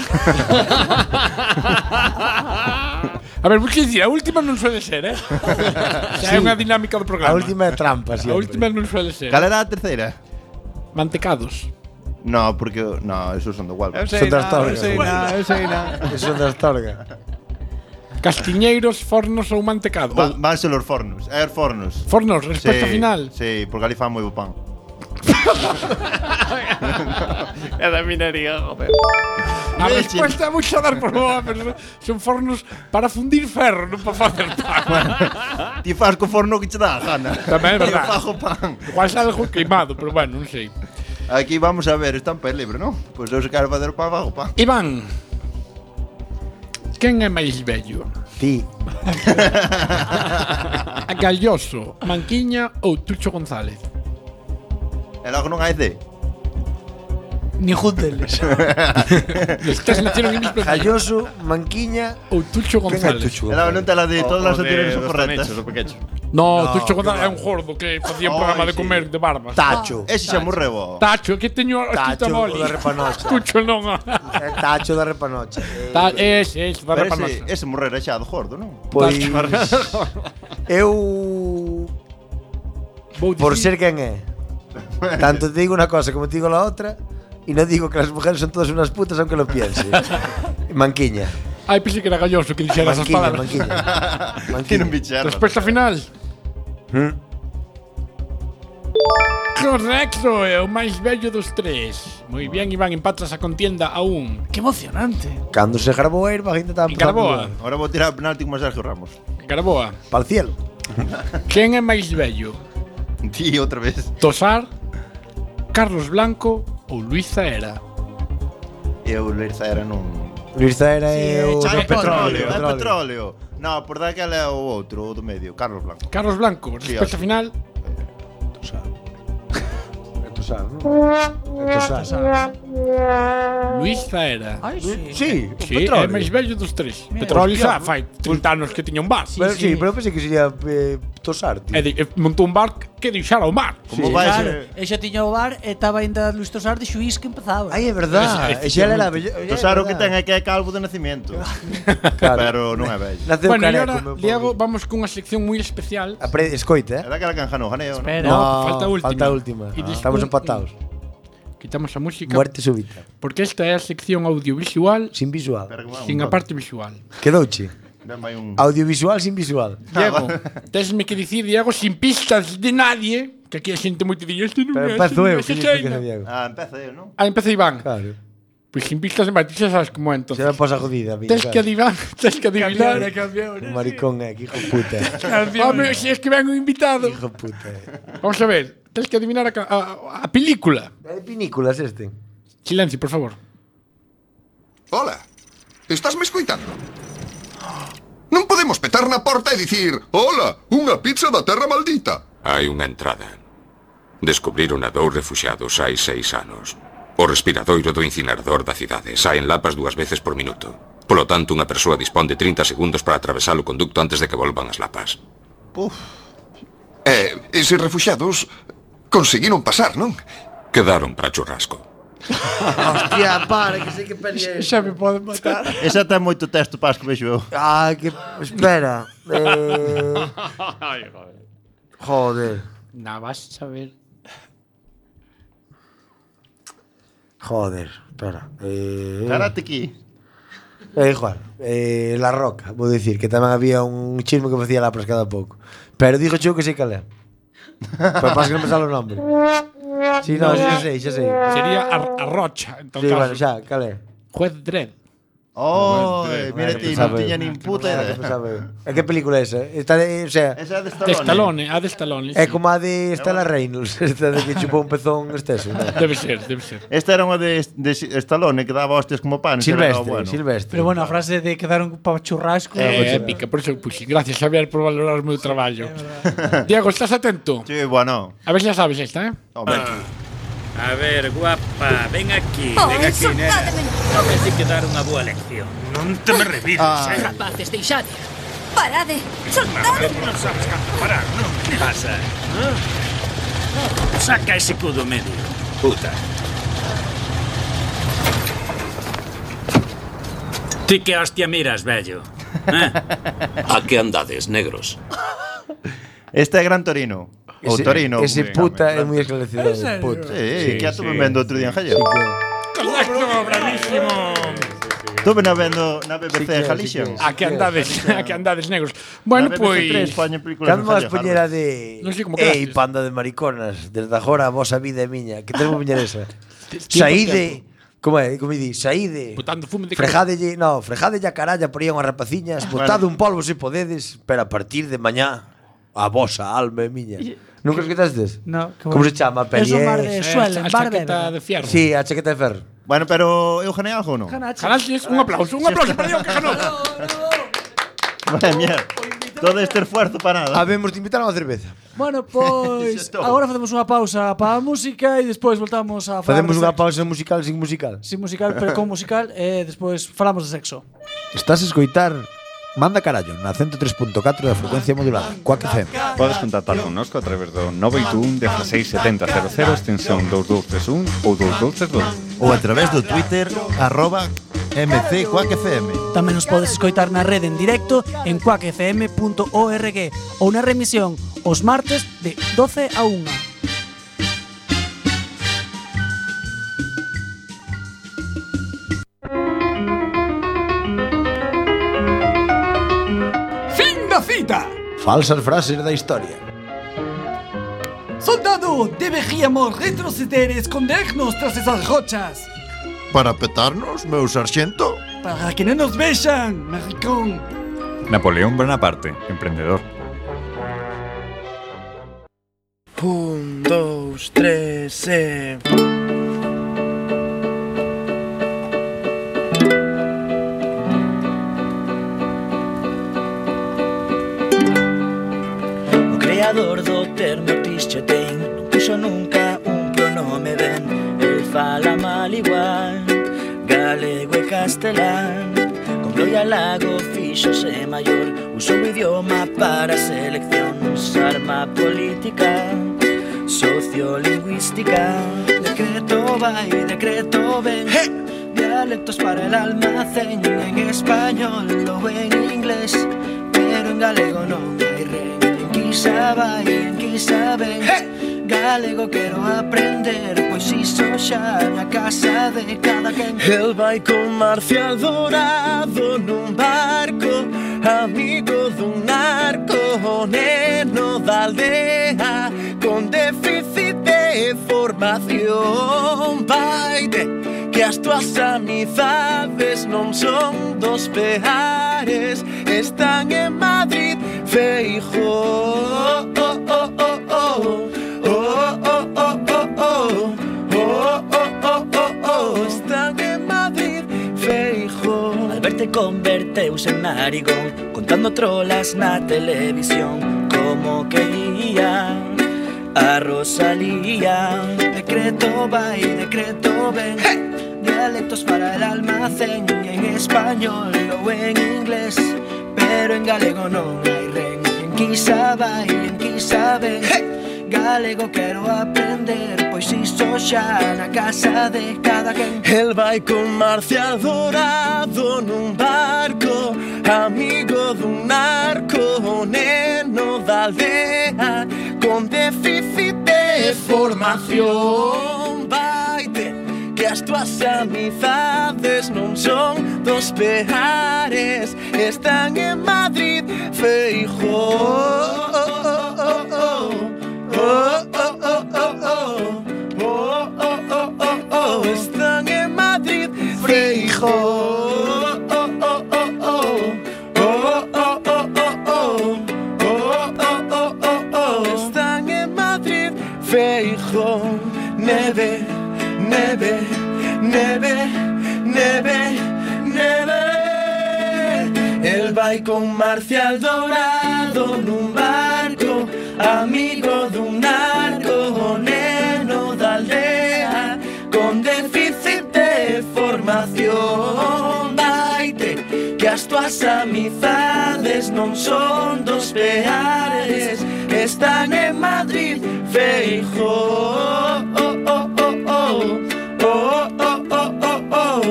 S9: a ver, vou que dicir, a última non suele ser, eh? Xa é
S4: Sí.
S9: unha dinámica do programa.
S4: A última é trampa,
S9: A
S4: siempre.
S9: última non suele ser.
S3: Cal era a terceira?
S9: Mantecados.
S3: No, porque... No, esos son do Huelva.
S4: Eu sei Son de na, Astorga. eu sei na, eu sei na. Esos son de Astorga.
S9: Castiñeiros, fornos ou mantecado?
S3: Va, van ser los fornos. É os fornos.
S9: Fornos, resposta
S3: Sí,
S9: final.
S3: Sí, porque ali fan moi bo pan.
S9: É da minería, joder. A resposta vou xa dar por boa, pero son fornos para fundir ferro, non para facer pan.
S3: Ti faz co forno que che dá, Hanna.
S9: Tamén é verdade.
S3: Eu fago pan.
S9: Igual xa algo queimado, pero bueno, non sei.
S3: Aquí vamos a ver, está en pé libre, non? Pois eu se quero facer o pan, fago pan.
S9: Iván, quen é máis bello?
S4: Ti.
S9: Galloso, Manquiña ou Tucho González?
S3: E logo non hai de.
S1: Ni júnteles.
S9: Estás nacieron en mis
S4: Calloso, Manquiña
S9: ou Tucho González.
S3: Era non te la de
S9: O-
S3: todas as
S4: Oh,
S9: o de
S3: anteriores son
S9: dos
S3: correctas.
S9: tanechos, o No, no Tucho González é un
S3: que
S9: gordo que facía un programa
S3: Ai,
S9: de comer de barbas.
S4: Tacho.
S3: Ese xa morreu, ó.
S9: Tacho, que teño a
S4: Tacho,
S9: escrita
S4: o
S9: moli.
S4: da Repanocha.
S9: Tucho non.
S4: É Eh, Tacho da Repanocha.
S9: Ta es, es, da
S3: Pero
S9: Repanocha.
S3: ese, ese morrera xa do gordo, non?
S4: Pois- Pues, Eu por ser quen é. Tanto te digo una cosa como te digo la otra y no digo que las mujeres son todas unas putas aunque lo piense. Manquiña.
S9: Ay, pensé que era galloso que dijera esas
S4: Manquiña,
S9: palabras.
S4: manquiña. Manquiña.
S3: Tiene un bicharro.
S9: Respuesta final.
S3: Hm?
S9: Correcto, é o máis bello dos tres. Moi bien, Iván, empatas a contienda a un. Que emocionante.
S4: Cando se grabou a Irma, a gente estaba
S9: En Caraboa.
S3: Ahora vou tirar penalti como Sergio Ramos.
S9: Caraboa.
S4: Para cielo.
S9: Quen é máis bello?
S3: Ti outra vez.
S9: Tosar, Carlos Blanco ou Luis Zaera?
S3: Eu Luis Zaera non.
S4: Luis Zaera é
S9: eh,
S4: eh, o
S3: Chano
S4: do petróleo.
S3: É petróleo. Non, por daquela é o outro, o do medio, Carlos Blanco.
S9: Carlos Blanco,
S3: Sí,
S9: resposta
S3: acho.
S9: final.
S4: Tosar,
S9: Luis Zaera.
S1: Ai, sí.
S4: Sí, o
S9: Sí, é
S4: petróleo.
S9: máis vello dos tres.
S4: Mira,
S9: Petróleo
S4: hostia,
S9: xa fai 30 anos que tiña un bar.
S4: Pero sí, pero pensei que sería eh, tosar, tío.
S9: E di- e montou un bar que deixara o mar.
S4: Como vai
S1: claro, e xa tiña o bar e estaba ainda Luis Tosar de xuiz que empezaba.
S4: Ai, é
S9: Ah,
S4: verdade. E xa era bello.
S3: Ah, Tosar o que ten é que é calvo de nacimiento.
S4: Claro.
S3: Pero non é bello.
S9: Bueno, e ahora, Diego, vamos cunha sección moi especial.
S4: Apre, escoita,
S3: É
S4: eh.
S3: daquela canja no janeo, non?
S9: Espera.
S4: No,
S9: falta a última.
S4: falta a última.
S9: E
S4: Ah.
S9: dis-
S4: Estamos
S9: un-
S4: empatados.
S9: Quitamos a música.
S4: Muerte súbita.
S9: Porque esta é a sección audiovisual
S4: Sin visual.
S9: sin a parte visual.
S4: Quedouche.
S3: Dame un
S4: Audiovisual sin visual.
S9: Diego, tesme que dicir, Diego, sin pistas de nadie, que aquí a xente moito di, este non
S4: Pero
S9: é, este
S4: empazo
S9: non é,
S4: eu,
S9: este
S4: que
S9: é
S4: que
S9: Xaina".
S4: Diego.
S3: Ah, empeza eu, non?
S9: Ah, empeza Iván.
S4: Claro.
S9: Pois sin pistas de nadie, xa sabes como é
S4: Xa me
S9: entón.
S4: posa jodida, miña.
S9: Tens que adivinar, tens que adivinar.
S4: Un maricón, eh, que hijo de puta. eh.
S9: Home, si es que ven un invitado.
S4: hijo de puta. eh.
S9: Vamos a ver, tens que adivinar a, ca- a- a película.
S4: É pinículas este.
S9: Silencio, por favor.
S14: Hola, estás me escoitando? Non podemos petar na porta e dicir Hola, unha pizza da terra maldita
S15: Hai unha entrada. Descubriron a dous refuxiados hai seis anos. O respiradoiro do incinerador da cidade saen lapas dúas veces por minuto. Polo tanto, unha persoa dispón de 30 segundos para atravesar o conducto antes de que volvan as lapas.
S14: Uf. E eses refuxados conseguiron pasar, non?
S15: Quedaron para churrasco.
S4: Hostia, para, que sei que peli é.
S9: Xa me poden matar.
S3: Esa ten moito texto para as que vexo eu.
S4: Ah, que... Espera. Eh,
S9: Ay, joder.
S4: joder.
S9: Na vas a saber.
S4: Joder. Espera. Eh,
S3: Karate aquí.
S4: Eh, Juan, eh, La Roca, vou dicir, que tamén había un chismo que facía lapas cada pouco. Pero dixo eu que sei cal é. Pero pasa que non me sale o nombre. Sí, no, xa sei, xa sei.
S9: Sería Ar- Arrocha, en todo
S4: Sí, bueno,
S9: caso.
S4: xa, cal é?
S9: Juez Dredd.
S3: Oh,
S9: Bueno,
S3: eh, mira
S4: que
S3: ti, non
S4: pensaba eu.
S3: tiña nin puta
S4: Era que
S3: idea.
S4: pensaba eu. E que película é esa? Esta de, o sea,
S3: Esa é de Stallone.
S9: De Stallone, a de Stallone.
S4: é
S9: sí.
S4: como a de Stella Reynolds, esta de que chupou un pezón esteso. non?
S9: Debe ser, debe ser.
S3: Esta era unha de, de Stallone que daba hostias como pan. que era
S4: Silvestre,
S3: bueno.
S4: Silvestre.
S1: Pero bueno, a frase de quedaron para churrasco.
S4: Eh, pues,
S9: É Eh, épica, por eso puxi. Gracias, Xavier, por valorar o meu traballo. Diego, estás atento?
S3: Sí, bueno.
S9: A ver se a sabes esta, eh?
S3: Hombre.
S16: Ah. A ver, guapa, ven aquí,
S17: Oh,
S16: ven aquí, nena.
S17: insultádeme.
S16: Tes de que dar unha boa lección. Non te me revides,
S6: Ah.
S17: Ai.
S16: eh?
S17: Rapaces, deixade. Parade.
S16: Pero
S17: Soltade.
S16: tú non sabes canto parar, non? Que pasa? eh? Saca ese cu do medio, puta. Ti que hostia miras, vello? Eh?
S18: A que andades, negros?
S3: Este é Gran Torino. O
S4: Ese-
S3: Torino.
S4: Ese
S3: como
S4: puta
S3: digamos.
S4: é moi esclarecedor. Puta.
S3: Sí, que a estuve vendo outro día en Jaleo.
S9: Correcto, bravísimo.
S3: Estuve na vendo na BBC de Galicia.
S9: A Ah, que andades, a que andades negros. Bueno,
S3: Na BBC tres
S9: pois...
S3: poñen películas
S4: Cando
S3: en
S4: vas
S3: Jaleo,
S4: poñer a
S3: Harvard.
S4: de
S9: Non sei como
S4: Ei,
S9: quedaste.
S4: panda de mariconas Desde agora a vosa vida é miña Que temos poñer esa Saíde Como é? Como di? Saíde
S9: Botando fume de
S4: Frejadelle No, frejadelle a caralla Por aí a unhas rapaciñas Botade un polvo se podedes Pero a partir de mañá A vosa alma é miña Nunca escutastes?
S1: No, que
S4: Como
S1: bueno.
S4: se chama? a Peli,
S1: Eso mar
S4: eh?
S1: de suelo, en bar
S9: chaqueta
S1: de-
S9: de fierro.
S4: Sí, a chaqueta de ferro
S3: Bueno, pero eu gané algo ou non?
S9: Ganaches, un aplauso, un aplauso para Diego que ganou.
S3: Madre mía. Todo este esfuerzo para nada.
S4: Habemos de invitar a unha cerveza
S1: Bueno, pois
S3: Xa estou.
S1: agora facemos unha pausa para a música e despois voltamos a falar
S4: Facemos
S1: de
S4: unha
S1: sexo.
S4: pausa musical sin musical
S1: Sin musical, pero con musical e despois falamos de sexo.
S4: Estás a escoitar Manda carallo na 103.4 da frecuencia modulada Coac FM
S11: Podes contactar connosco a través do 921 167000 extensión 2231 ou 2232.
S3: Ou a través do Twitter arroba mcquackfm.
S1: Tamén nos podes escoitar na rede en directo en quackfm.org ou na remisión os martes de 12 a 1.
S6: Fin da cita!
S5: Falsas frases da historia.
S6: Soldado, deberíamos retroceder e escondernos tras esas rochas.
S14: Para petarnos, meu sarxento?
S6: Para que no nos vean, maricón.
S11: Napoleón Bonaparte, emprendedor.
S13: Un, dos, tres, e...
S19: O creador do termo Tischotein non puxo nunca un pronome ben El fala mal igual, galego e castelán Con gloria lago fixose maior Usou o idioma para a selección Usar má política sociolingüística Decreto va y decreto ven Dialectos para el almacén En español o en inglés Pero en galego no hay rey En quizá va y en quizá ven Galego quero aprender pues Pois iso xa na casa de cada quen
S13: El vai con Marcial Dorado nun barco Amigo dun narco o neno da aldea Con déficit de formación Vai de que as tuas amizades non son dos peares Están en Madrid, feijóo Oh, oh, oh, oh, oh. Oh, oh, oh, oh, oh. Están en Madrid, Feijóo
S19: Alberte converteuse en narigón Contando trolas na televisión Como quería a Rosalía Decreto va y decreto ven Dialectos para el almacén En español o en inglés Pero en galego non hai ren En quizá vai, en quizá ven Galego quero aprender Pois iso xa na casa de cada quen
S13: El vai con Marcial Dorado nun barco Amigo dun narco O neno da aldea Con déficit de formación Vaite que as tuas amizades non son dos peares Están en Madrid, Feijóo Oh, oh, oh, oh, oh. Oh, oh, oh, oh, oh. Están en Madrid, Freijo. Oh, oh, oh, oh, oh. Oh, oh, oh, oh, oh. Oh, oh, oh, oh, oh. Están en Madrid, Feijo. Neve, neve, neve, neve, neve. El vai con Marcial Dorado nun barco Amigo dun narco o neno da aldea Con déficit de formación Daite que as tuas amizades non son dos peares Están en Madrid, feijo oh, oh, oh, oh, oh. Oh, oh, oh, oh, oh.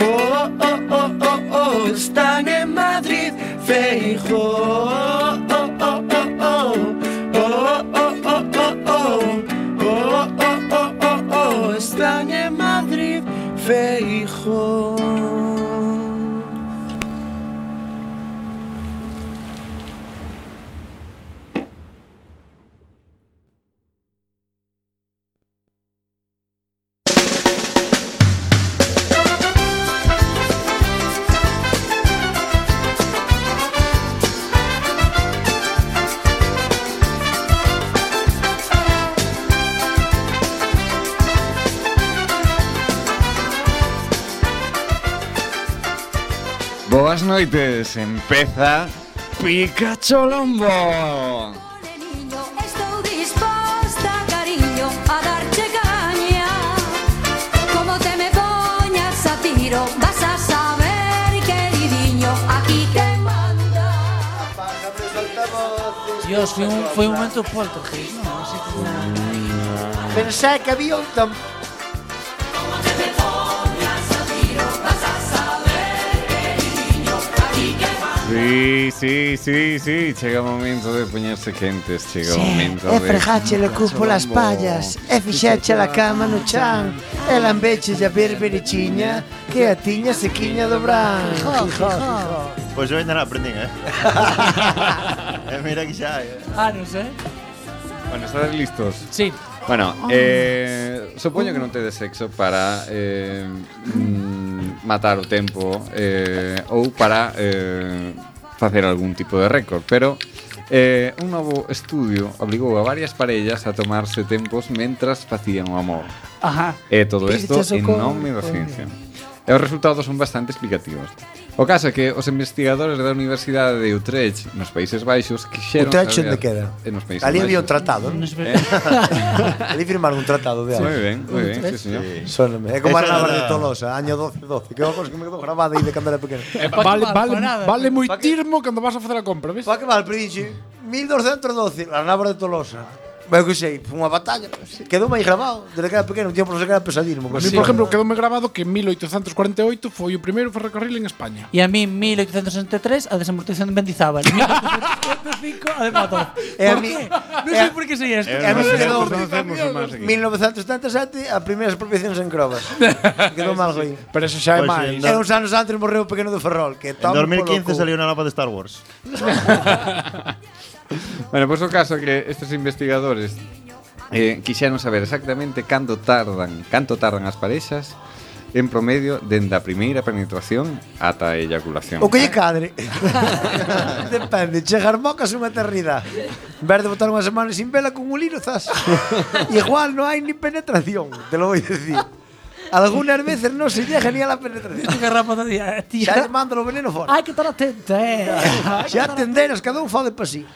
S13: Oh, oh, oh, oh, oh. Están en Madrid, feijo oh, oh, oh, oh, oh. Oh, oh, oh, oh, oh. Oh, oh, oh, oh, oh. Están en Madrid, Feijo.
S11: Boas noites, empeza Pikachu Lombo.
S17: Estou disposta, cariño, a darche caña Como te me poñas a tiro Vas a saber, queridinho, aquí te manda
S1: Dios, foi un, foi un momento poltergeist, non? Así como una-
S5: Pensé que había un tam...
S11: Sí,
S7: Sí, sí, sí, sí. Chega o momento de poñerse quentes, chega o momento
S4: E
S7: de...
S4: fregache le cupo las pallas E fixeche la cama no chan E lambeche a berberichiña Que a tiña se quiña do bran
S3: Jijó, jijó.
S4: Jijó, jijó.
S3: Pois eu ainda non aprendín, eh? eh mira que xa, eh?
S1: Ah, non sei.
S7: Bueno, ¿estáis listos?
S1: Sí. Uh.
S7: Bueno,
S1: Ah.
S7: eh, supoño que non tedes sexo para eh, mm, matar o tempo eh, ou para eh, facer algún tipo de récord, pero eh, un novo estudio obligou a varias parellas a tomarse tempos mentras facían o amor.
S1: Ajá.
S7: E todo isto
S1: Pirchas o
S7: en
S1: co-
S7: nome da
S1: co-
S7: ciencia. E os resultados son bastante explicativos. O caso é que os investigadores da Universidade de Utrecht, nos Países Baixos, quixeron...
S4: Utrecht onde
S7: saber-
S4: queda?
S7: Eh, nos Países
S4: Ali había
S7: Baixos.
S4: un tratado, non? Ali firmaron un tratado de
S7: Sí.
S4: algo.
S7: Muy bien, muy bien, sí, señor.
S4: Sóname, é como a
S7: Esa
S4: Nava
S7: era-
S4: de Tolosa, año 1212 Que é unha cousa que me quedou gravada aí de cando era pequeno
S9: Eh, pa- vale, vale, vale moi tirmo cando vas a facer a compra, ves?
S4: Pa que mal, Prince? 1212, a Nava de Tolosa Eu que sei, foi unha batalla Quedou aí grabado, desde que era pequeno, un tiempo non sei que era pesadismo
S9: A mí, por exemplo, quedoume gravado que en 1848 foi o primeiro ferrocarril en España.
S1: E a mí, 1863, a desamortización de Mendizábal. 1805, a de Padov.
S4: E a
S1: Por
S4: mí-
S1: qué? Non
S4: e a-
S1: sei por que sei isto.
S4: e a mí quedou-
S9: aquí.
S4: 1977, as primeiras expropiacións en Crobas. Quedou mal aí.
S9: Pero eso xa é
S4: Pois,
S9: máis.
S4: E uns anos antes morreu o pequeno de Ferrol, que
S3: En
S4: toma
S3: 2015
S4: polo cu.
S3: salió una napa de Star Wars.
S7: Bueno, pois o caso é que estes investigadores eh, quixeron saber exactamente canto tardan, canto tardan as parexas en promedio dende a primeira penetración ata a eyaculación.
S4: O que lle cadre. Depende, chegar mocas unha eternidade. Ver de botar unha semana sin vela con un lino, zas. Igual non hai ni penetración, te lo voy a decir. Algunas veces non se llega ni a la penetración.
S1: que rapa día, tía.
S4: Xa lle mando o veneno fora.
S1: Hai que estar atenta, eh.
S4: Xa tenderas, cada un fode pa si.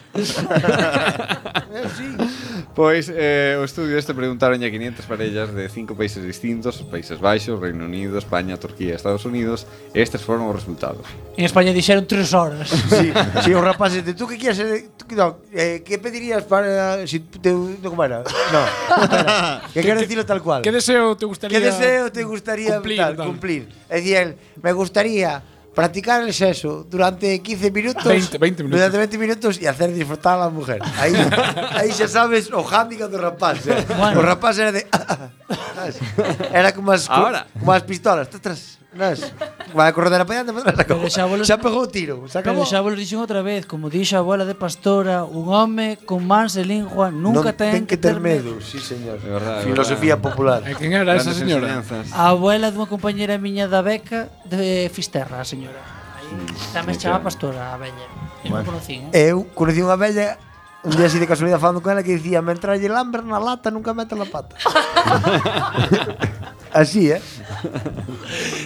S7: Pois eh, o estudio este preguntaron a 500 parellas de cinco países distintos, os Países Baixos, Reino Unido, España, Turquía, Estados Unidos, e estes foron os resultados.
S1: En España dixeron tres horas.
S4: Sí, sí, os rapaces de tú que quieres ser, tú, que- no, eh, que pedirías para si te no, como era? No. espera, que quero decirlo tal cual.
S9: Que deseo te gustaría
S4: ¿Qué deseo te gustaría
S9: cumplir,
S4: cumplir?
S9: tal?
S4: cumplir? Es decir, él, me gustaría practicar el sexo durante 15 minutos.
S9: 20, 20 minutos.
S4: Durante 20 minutos y hacer disfrutar a la mujer. Ahí, ahí ya sabes, o handicap de rapaz. eh.
S5: Bueno.
S4: O rapaz era de. ¿sabes? era como as,
S5: Ahora.
S4: como as pistolas. Tras, tras, tras. Va a correr de la pañata, pero se acabó.
S1: Pero xa vos-
S4: Se pegou o tiro. Se
S1: Pero
S4: acabó.
S1: xa vos dixen outra vez, como dixo a abuela de Pastora, un home con mans e lingua
S4: Non
S1: nunca ten,
S4: que ter medo. Sí, señor.
S7: verdade,
S4: Filosofía
S7: verdade.
S4: popular.
S9: E quen era esa
S7: Grandes
S9: señora?
S7: enseñanzas.
S1: A abuela dunha compañera miña da beca de Fisterra, a señora. Aí
S7: Mm,
S1: tamén se chama Pastora, a veña. Eu non
S4: Bueno.
S1: conocín, eh.
S4: Eu conocí unha vella un día así de casualidade falando con ela que dicía Mentralle lamber na lata nunca mete la pata Así, eh?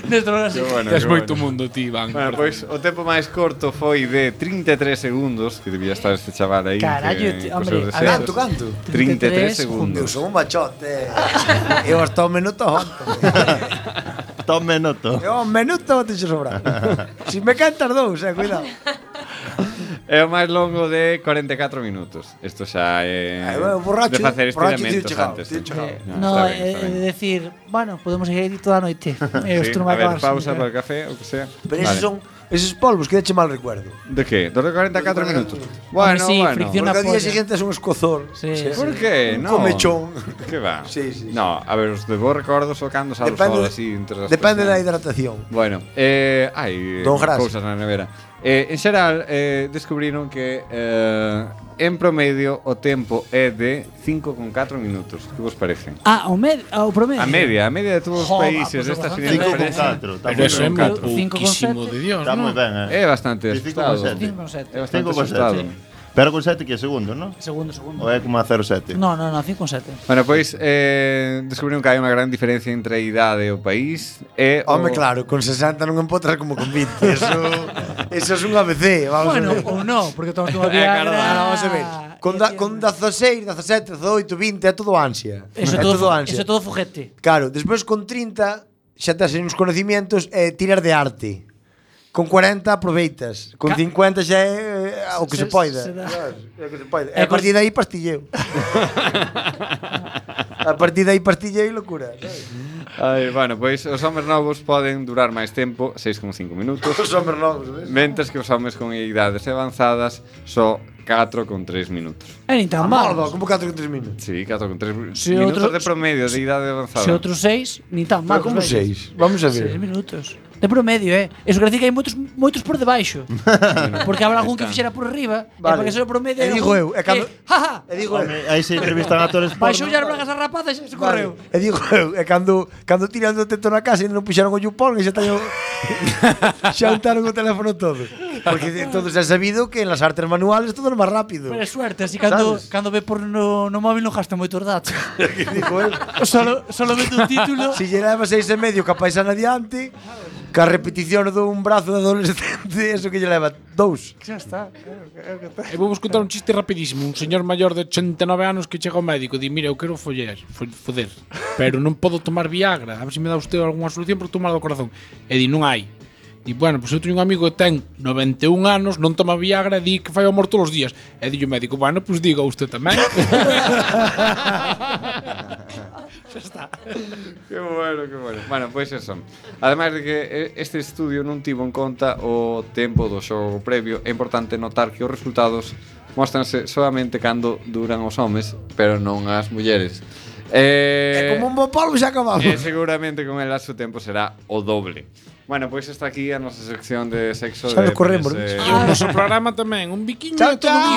S1: Neste lugar así.
S7: Qué bueno,
S9: Tes
S7: qué
S9: moito
S7: bueno.
S9: mundo ti, Iván.
S7: Bueno, pois o tempo máis corto foi de 33 segundos Que debía estar este chaval aí
S4: Carallo, ti-
S7: que, cos
S4: hombre,
S7: seus
S4: a
S7: deseos.
S4: canto, canto?
S7: 33
S4: Eu
S7: segundos
S4: son un machote Eu hasta o minuto onto
S3: Tom Menoto.
S4: Eu un minuto te xo sobrar Si me cantas dous, eh, cuidado
S7: É o máis longo de 44 minutos Isto xa é
S4: Ai, bueno, borracho,
S7: de facer
S4: borracho,
S7: estiramentos
S4: tío chegado,
S7: antes
S4: tío
S7: sí.
S4: chegado.
S1: No,
S4: eh,
S7: Ah, está
S1: é
S7: ben, está
S1: é
S7: ben.
S1: decir, bueno, podemos seguir aquí toda a noite. Eh, Eu
S7: Sí,
S1: isto
S7: a
S1: non vai
S7: ver,
S1: acabar.
S7: pausa para
S1: señora.
S7: o café, o que sea
S4: Pero esos son esos polvos que deche mal recuerdo
S7: De que? Dos de 44 minutos Bueno, bueno
S4: Porque o día siguiente es un escozor sí,
S7: ¿Por qué? No.
S4: Comechón
S7: Que va? Sí, sí, No, a ver, os de vos recordos o cando sal
S4: Depende-
S7: sol así entre as
S4: Depende da
S7: persianas.
S4: hidratación
S7: Bueno, eh, hai eh,
S4: Don Gras.
S7: cousas na nevera. Eh, en xeral, eh, descubriron que eh, en promedio o tempo é de 5,4 minutos. Que vos parece?
S1: Ah, o, med o promedio.
S7: A media, a media de todos os
S1: Joder,
S7: países
S1: pues
S7: destas
S1: bastante
S7: finais
S1: ben.
S9: Pero eso é pouquísimo de Dios,
S3: Está moi
S9: non?
S3: ben, eh.
S7: É bastante asustado. É bastante asustado.
S3: Pero con 7 que é segundo, non?
S1: Segundo, segundo.
S3: Ou é como a 0,7?
S1: No, no, no, 5,7.
S7: Bueno, pois eh, descubriron que hai unha gran diferencia entre a idade e o país e
S4: Home,
S7: o...
S4: claro, con 60 non empotras como con 20 Eso, eso es un ABC vamos a
S1: Bueno,
S4: ver.
S1: ou non, porque estamos
S4: Eh,
S1: con a Viagra.
S4: claro, ahora vamos a ver Con, da, con 16, 17, 18, 20 É todo ansia
S1: Eso
S4: é
S1: todo,
S4: todo ansia
S1: eso todo fujete.
S4: Claro, despois con 30 Xa tes uns conocimientos e eh, tiras de arte Con 40 aproveitas Con
S1: Ca-
S4: 50 xa é eh, o que se,
S1: Se-
S4: poida
S1: se dá.
S4: Claro, é o que se poida. E
S1: E
S4: a
S1: con-
S4: partir de aí pastilleu A partir de aí pastilla e locura.
S7: Ai, bueno, pois os homes novos poden durar máis tempo, 6,5 minutos.
S4: Os homes novos, ves?
S7: Mentres que os homes con idades avanzadas só 4,3 minutos.
S1: É nin tan
S4: mal.
S1: mal.
S4: Como 4 que 3 minutos.
S7: Sí, 4,3
S1: Se
S7: minutos
S1: outro-
S7: de promedio de idade avanzada.
S1: Se outros seis, nin tan mal.
S7: Pero como seis?
S4: Vamos a ver.
S1: Seis minutos. De promedio, eh. Eso quer dicir que hai moitos, moitos por debaixo. porque habrá algún que fixera por arriba.
S4: Vale.
S1: E para que se o promedio...
S4: E
S1: era
S4: digo eu,
S1: algún
S4: e cando-
S1: que, "Ja, ja".
S3: Home, aí se entrevistan actores
S1: Baixou as bragas a rapaz e xa se correu.
S4: E digo, eu, e cando, cando tiran do teto na casa e non puxaron o yupón e xa teño xa untaron o teléfono todo. Porque entonces é sabido que en las artes manuales todo é máis rápido.
S1: Pero é suerte, así cando,
S4: Sabes?
S1: cando ve por no, no móvil non gasta moitos datos.
S4: Digo el.
S1: solo, solo vende un título.
S4: Si lle leva seis e medio que a paisana adiante, que a repetición dun brazo de adolescente, eso que lle leva dous.
S1: Xa está.
S9: E Eh, vou vos contar un chiste rapidísimo. Un señor maior de 89 anos que chega ao médico e di, mira, eu quero follar, fo- foder, pero non podo tomar Viagra. A ver se me dá usted algunha solución para tomar do corazón. E di, non hai. Di, bueno, pois eu teño un amigo que ten 91 anos, non toma Viagra e di que fai o morto os días. E di o médico, bueno, pois diga usted tamén.
S7: Xa está. Que bueno, que bueno. Bueno, pois pues eso. Ademais de que eh, este estudio non tivo en conta o tempo do xogo previo, é importante notar que os resultados mostranse solamente cando duran os homes, pero non as mulleres. Eh,
S4: Como un bo polvo xa acabamos.
S7: E seguramente con el su tempo será o doble. Bueno, pois está aquí a nosa sección de sexo
S4: Xa nos
S7: de
S4: corremos,
S7: pois, eh,
S9: Ah. E o noso programa tamén, un biquiño
S7: Chao,
S9: todo
S7: chao.